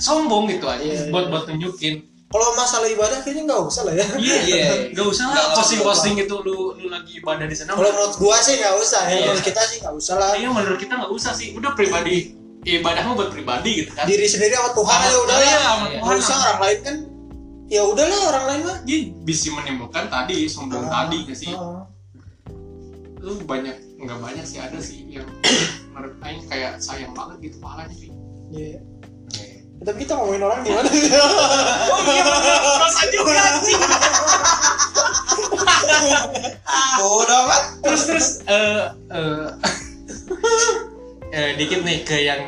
Speaker 3: sombong gitu aja
Speaker 2: Iya, iya.
Speaker 3: buat buat nunjukin
Speaker 2: Kalau masalah ibadah kayaknya nggak usah lah ya.
Speaker 3: Iya,
Speaker 1: Iya.
Speaker 3: Gak usah
Speaker 1: Nggak
Speaker 3: lah
Speaker 1: usah.
Speaker 3: posting-posting itu lu lu lagi ibadah di sana.
Speaker 2: Kalau menurut gua sih nggak usah ya.
Speaker 3: Iya.
Speaker 2: Menurut kita sih nggak usah lah.
Speaker 3: Iya, menurut kita nggak usah sih. Udah pribadi ibadahmu buat pribadi gitu kan.
Speaker 2: Diri sendiri sama Tuhan aja udah
Speaker 3: Iya,
Speaker 2: lah.
Speaker 3: sama
Speaker 1: Iya.
Speaker 2: Nggak
Speaker 3: Tuhan.
Speaker 2: usah orang lain kan. Ya udahlah orang lain mah.
Speaker 3: Dia bisa menimbulkan tadi sombong
Speaker 2: Ah,
Speaker 3: tadi gak sih?
Speaker 2: ah.
Speaker 3: Lu banyak nggak banyak sih ada sih yang menurut Aing kayak sayang banget gitu pahalanya sih.
Speaker 2: Iya. Ya, Tapi kita ngomongin orang di mana?
Speaker 3: Oh iya, rasa juga sih.
Speaker 1: bodoh Ah, amat
Speaker 3: Terus terus eh eh, eh, dikit nih ke yang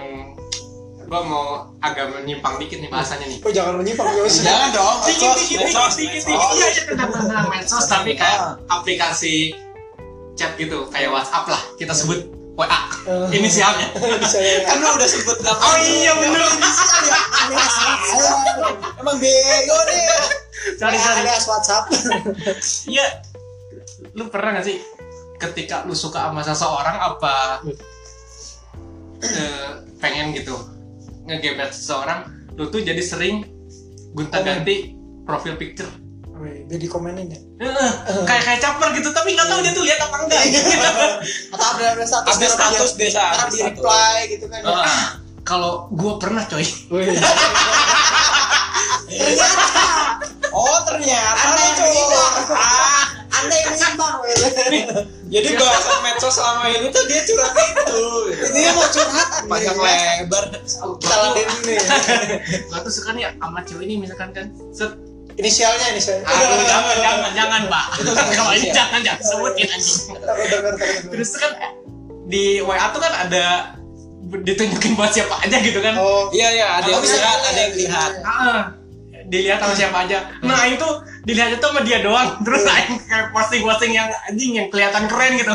Speaker 3: gua mau agak menyimpang dikit nih bahasanya nih.
Speaker 2: Oh jangan menyimpang ya usah.
Speaker 3: Iya.
Speaker 1: jangan dong
Speaker 3: dikit
Speaker 1: medsos,
Speaker 3: dikit
Speaker 1: medsos,
Speaker 3: dikit dikit dikit
Speaker 1: medsos.
Speaker 3: Iya, aja tentang tentang medsos tapi kayak aplikasi chat gitu kayak WhatsApp lah kita sebut WA
Speaker 2: Eh,
Speaker 3: inisialnya
Speaker 2: Saya
Speaker 1: kan lu udah sebut nama
Speaker 3: oh iya bener
Speaker 1: emang bego deh
Speaker 3: sorry sorry
Speaker 2: Ada WhatsApp.
Speaker 3: iya lu pernah gak sih ketika lu suka sama seseorang apa eh, pengen gitu ngegebet seseorang lu tuh jadi sering gonta ganti profil picture
Speaker 2: Wih, Biar dikomenin ya.
Speaker 3: Eh, kayak kayak caper gitu tapi nggak tahu dia tuh lihat apa enggak
Speaker 2: Atau ada ada status
Speaker 1: ada status biasa
Speaker 2: Ntar
Speaker 1: update
Speaker 2: di
Speaker 1: status.
Speaker 2: reply gitu kan. ya.
Speaker 3: Ah, kalau gua pernah coy
Speaker 2: Ternyata
Speaker 1: oh ternyata
Speaker 3: Iya.
Speaker 1: lu
Speaker 2: ada yang
Speaker 1: Oh, cowok
Speaker 2: bilang
Speaker 1: Iya.
Speaker 3: Ah.
Speaker 1: Jadi bahasan medsos selama ini tuh dia curhat itu.
Speaker 2: Ini mau curhat
Speaker 1: Panjang lebar.
Speaker 2: Kita ladenin nih.
Speaker 3: Gua tuh suka nih sama cewek ini misalkan kan. Set.
Speaker 2: Inisialnya inisialnya.
Speaker 3: Aduh, jangan, jangan, jangan, Pak. Kalau ini jangan, jangan sebutin anjing.
Speaker 2: Taruh, taruh, taruh, taruh.
Speaker 3: ya. Terus tuh kan eh, di WA tuh kan ada ditunjukin buat siapa aja gitu kan.
Speaker 2: Oh,
Speaker 1: Iya iya, ada yang
Speaker 2: Atau bisa
Speaker 1: lihat,
Speaker 2: nanya,
Speaker 1: ada yang
Speaker 2: gitu.
Speaker 1: lihat.
Speaker 3: Ah, dilihat sama siapa aja. Nah, Aing tuh dilihat itu sama dia doang. Terus Aing kayak posting-posting yang anjing yang kelihatan keren gitu.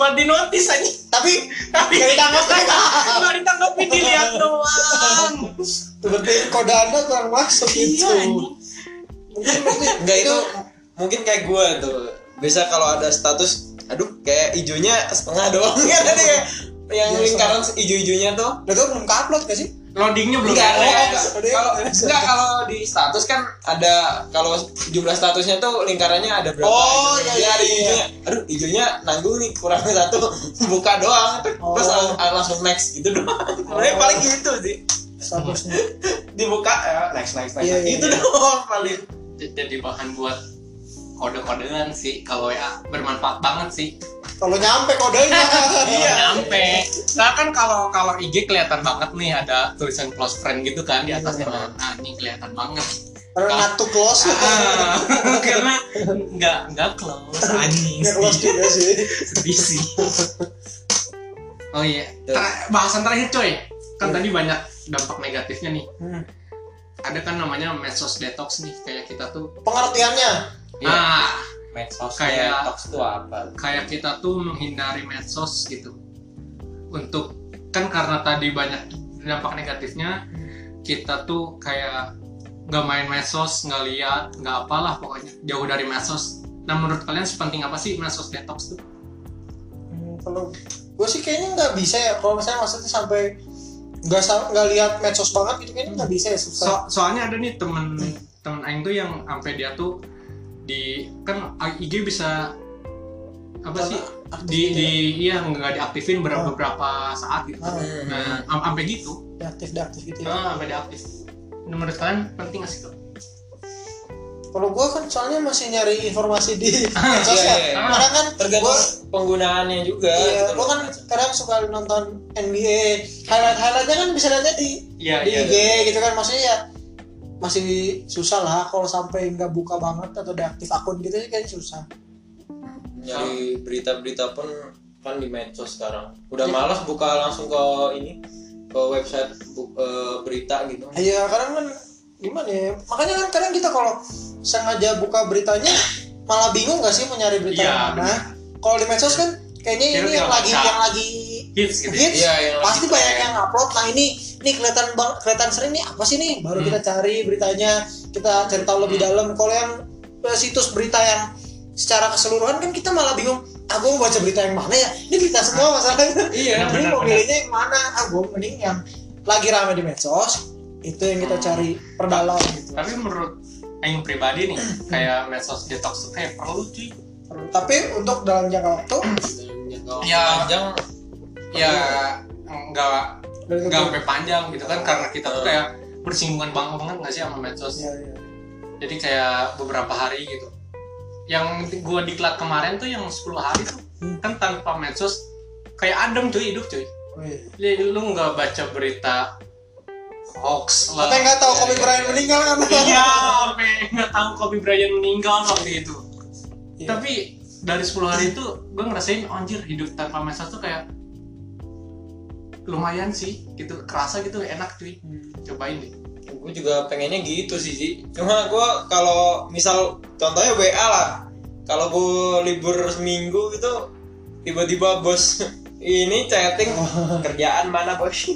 Speaker 3: Buat di notice anjing.
Speaker 2: Tapi
Speaker 3: Tapi
Speaker 2: Nggak ditanggepin.
Speaker 3: Nggak ditanggepin, Nah, dilihat doang.
Speaker 2: tuh berarti kode anda kurang masuk
Speaker 3: Iya,
Speaker 2: gitu.
Speaker 3: anjing.
Speaker 1: Enggak itu mungkin kayak gue tuh. Biasa kalau ada status, aduh kayak ijonya setengah doang kan ada kayak yang
Speaker 2: Iya,
Speaker 1: lingkaran ijo-ijonya tuh
Speaker 2: Nah, itu belum upload gak sih?
Speaker 3: Loadingnya belum
Speaker 1: Enggak,
Speaker 3: ada.
Speaker 1: enggak,
Speaker 3: ya.
Speaker 1: enggak.
Speaker 2: Ada yang-
Speaker 1: Kalau enggak kalau di status kan ada kalau jumlah statusnya tuh lingkarannya ada berapa?
Speaker 2: Oh,
Speaker 1: gitu.
Speaker 2: iya,
Speaker 1: Jadi
Speaker 2: iya,
Speaker 1: ada
Speaker 2: iya.
Speaker 1: hijaunya. Aduh, hijaunya nanggung nih kurang satu. Buka doang terus
Speaker 2: Oh.
Speaker 1: lang- langsung next gitu doang. Sebenarnya paling gitu sih.
Speaker 2: Statusnya.
Speaker 1: Dibuka
Speaker 2: eh,
Speaker 1: ya, next next next.
Speaker 2: Iya, iya,
Speaker 1: itu
Speaker 2: iya.
Speaker 1: doang paling.
Speaker 3: jadi bahan buat kode-kodean sih kalau ya bermanfaat banget sih
Speaker 2: Kalau nyampe kodenya.
Speaker 3: iya nyampe nah kan kalau kalau IG kelihatan banget nih ada tulisan close friend gitu kan di atasnya
Speaker 1: Iya.
Speaker 3: nah ini kelihatan banget
Speaker 2: Karena not to close.
Speaker 3: ah, karena nggak nggak close anjing
Speaker 2: Nggak close
Speaker 3: sedih,
Speaker 2: juga sih.
Speaker 3: sedih sih oh iya
Speaker 1: Tuh.
Speaker 3: Ter- bahasan terakhir coy kan tadi banyak dampak negatifnya nih
Speaker 2: Hmm.
Speaker 3: ada kan namanya medsos detox nih kayak kita tuh
Speaker 2: Pengertiannya.
Speaker 3: ah
Speaker 1: medsos
Speaker 3: Kayak-
Speaker 1: detox tuh apa?
Speaker 3: kayak kita tuh menghindari medsos gitu untuk kan karena tadi banyak dampak negatifnya kita tuh kayak nggak main medsos nggak lihat nggak apalah pokoknya jauh dari medsos nah menurut kalian sepenting apa sih medsos detox tuh
Speaker 2: Hmm, kalau gue sih kayaknya nggak bisa ya kalau misalnya maksudnya sampai nggak sa- nggak lihat medsos banget gitu kayaknya nggak bisa ya susah
Speaker 3: So- soalnya ada nih temen temen Aing tuh yang sampai dia tuh di kan IG bisa apa sih
Speaker 2: Aktif
Speaker 3: di
Speaker 2: gitu
Speaker 3: di
Speaker 2: ya.
Speaker 3: iya nggak
Speaker 2: Ah.
Speaker 3: diaktifin beberapa beberapa saat gitu
Speaker 1: Oh.
Speaker 2: Ah,
Speaker 3: nah am- sampai gitu
Speaker 2: deaktif deaktif gitu ya
Speaker 3: Ah, sampai aktif. Menurut kalian penting gak sih tuh?
Speaker 2: kalau gue kan soalnya masih nyari informasi di
Speaker 1: iya,
Speaker 2: medsos ya
Speaker 1: iya.
Speaker 2: kadang kan
Speaker 1: Tergantung
Speaker 2: gua-
Speaker 1: penggunaannya juga.
Speaker 2: iya,
Speaker 1: gitu
Speaker 2: gua
Speaker 1: loh.
Speaker 2: kan kadang suka nonton NBA highlight highlightnya kan bisa lihatnya di
Speaker 3: Iya,
Speaker 2: di IG gitu kan maksudnya ya masih susah lah kalau sampai nggak buka banget atau deaktif akun gitu sih kayaknya susah
Speaker 1: nyari berita-berita pun kan di medsos sekarang
Speaker 3: Iya.
Speaker 1: udah malas buka langsung ke ini ke website bu- eh, berita gitu
Speaker 2: Iya, kadang kan gimana ya? Makanya kan kadang kita kalau sengaja buka beritanya malah bingung gak sih mau nyari berita
Speaker 3: Iya,
Speaker 2: yang mana? Kalau di medsos kan kayaknya
Speaker 3: Kayaknya
Speaker 2: ini yang
Speaker 3: tinggal
Speaker 2: lagi
Speaker 3: baca.
Speaker 2: yang lagi
Speaker 3: Hits gitu.
Speaker 2: hits
Speaker 1: Iya, yang lagi
Speaker 2: pasti
Speaker 1: tren.
Speaker 2: banyak yang upload. Nah ini ini kelihatan bang- kelihatan sering nih apa sih nih? Baru
Speaker 3: Hmm.
Speaker 2: kita cari beritanya, kita cari tahu lebih
Speaker 3: Hmm.
Speaker 2: dalam. Kalau yang eh, situs berita yang secara keseluruhan kan kita malah bingung. Ah, gua mau baca berita yang mana ya? Ini berita semua masalahnya.
Speaker 1: iya
Speaker 2: Mending
Speaker 3: Benar,
Speaker 2: mau
Speaker 3: benar.
Speaker 2: pilihnya yang mana? Ah, gue mending yang lagi rame di medsos itu yang kita
Speaker 3: Hmm.
Speaker 2: cari perdalam gitu.
Speaker 3: Tapi menurut Aing pribadi nih, kayak medsos detox tuh kayak perlu cuy.
Speaker 2: Tapi untuk dalam jangka waktu
Speaker 3: Iya.
Speaker 1: panjang
Speaker 3: Ya nggak
Speaker 2: dari
Speaker 3: nggak sampai panjang gitu kan karena kita tuh kayak bersinggungan banget banget nggak sih sama medsos.
Speaker 2: Iya, iya.
Speaker 3: Jadi kayak beberapa hari gitu. Yang gua diklat kemarin tuh yang 10 hari tuh
Speaker 2: Hmm.
Speaker 3: kan tanpa medsos kayak adem cuy hidup cuy.
Speaker 2: Oh, iya.
Speaker 3: Jadi lu nggak baca berita hoax lah.
Speaker 2: Katanya nggak tahu
Speaker 1: Iya,
Speaker 2: Kobe
Speaker 1: iya,
Speaker 2: Bryant
Speaker 1: iya.
Speaker 2: meninggal kan?
Speaker 3: Ya, Iya, sampai nggak tahu Kobe Bryant meninggal waktu itu.
Speaker 2: Iya.
Speaker 3: Tapi dari 10 hari itu gue ngerasain oh, anjir hidup tanpa medsos tuh kayak lumayan sih gitu kerasa gitu enak cuy cobain deh
Speaker 1: gue juga pengennya gitu sih Ji. cuma gue kalau misal contohnya WA lah kalau gue libur seminggu gitu tiba-tiba bos ini chatting kerjaan mana bos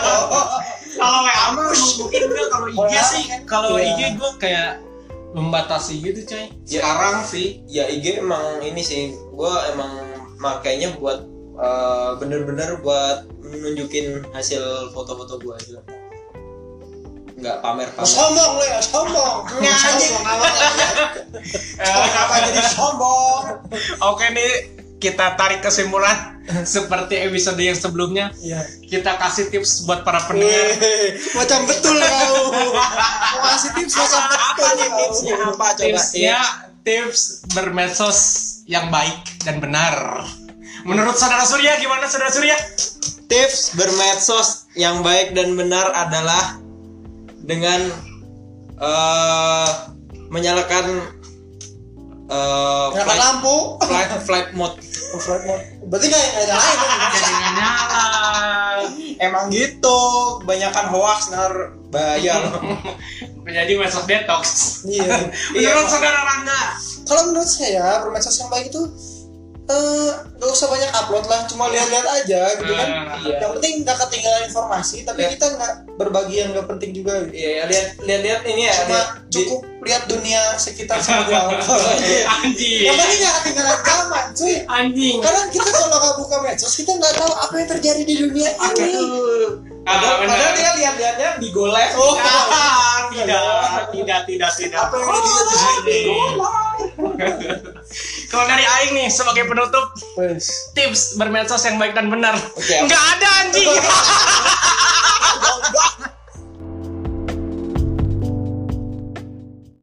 Speaker 3: kalau WA mah mungkin gue kalau IG
Speaker 2: Kalau
Speaker 3: sih kalau
Speaker 2: Iya.
Speaker 3: IG gue kayak membatasi gitu coy
Speaker 1: Ya.
Speaker 3: sekarang sih
Speaker 1: ya IG emang ini sih gue emang makainya buat eh, bener-bener buat nunjukin hasil foto-foto gue aja nggak
Speaker 2: Oh,
Speaker 1: pamer-pamer
Speaker 2: sombong lo ya, sombong.
Speaker 1: Nah,
Speaker 3: anjing.
Speaker 2: Sombong apa namanya?
Speaker 3: Eh,
Speaker 2: Kenapa jadi sombong?
Speaker 3: oke nih kita tarik kesimpulan seperti episode yang sebelumnya
Speaker 2: Iya.
Speaker 3: kita kasih tips buat para pendengar
Speaker 2: Wih, Macam betul kau. Mau kasih tips macam
Speaker 1: apa
Speaker 2: betul
Speaker 1: nih
Speaker 2: kau. iya.
Speaker 1: tipsnya apa coba Iya.
Speaker 3: tipsnya tips bermedsos yang baik dan benar. Menurut saudara Surya gimana saudara Surya?
Speaker 1: Tips bermedsos yang baik dan benar adalah dengan eh, menyalakan eh,
Speaker 2: Nyalakan
Speaker 1: flight,
Speaker 2: lampu.
Speaker 1: flight, flight mode.
Speaker 2: Oh, flight mode. Berarti nggak nggak nyalain.
Speaker 1: Iya.
Speaker 3: Jadi nggak nyala.
Speaker 1: Emang gitu, kebanyakan hoax nar bayar.
Speaker 3: Menjadi medsos detox.
Speaker 2: Iya.
Speaker 3: Menurut saudara Rangga,
Speaker 2: Kalau menurut saya permedsos yang baik itu eh gak usah banyak upload lah, cuma lihat-lihat aja gitu kan.
Speaker 1: Iya.
Speaker 2: Yang penting nggak ketinggalan informasi, tapi
Speaker 1: Iya.
Speaker 2: kita nggak berbagi yang nggak penting juga. gitu.
Speaker 1: Iya, lihat lihat lihat ini ya.
Speaker 2: Cuma
Speaker 1: lihat-
Speaker 2: cukup lihat dunia sekitar seperti apa.
Speaker 3: anjing,
Speaker 2: Yang penting nggak ketinggalan zaman, cuy.
Speaker 3: anjing.
Speaker 2: Karena kita kalau nggak buka medsos, kita nggak tahu apa yang terjadi di dunia ini.
Speaker 3: Ah,
Speaker 1: Padahal, padahal dia lihat-lihatnya di Go Live.
Speaker 2: Oh,
Speaker 3: Ah, tidak, tidak, tidak, tidak.
Speaker 2: apa yang
Speaker 1: Oh,
Speaker 2: lagi terjadi?
Speaker 3: Kalau dari Aing nih sebagai penutup
Speaker 2: Wes.
Speaker 3: tips bermedsos yang baik dan benar.
Speaker 1: Oke.
Speaker 3: Nggak ada anjing.
Speaker 2: Goblok.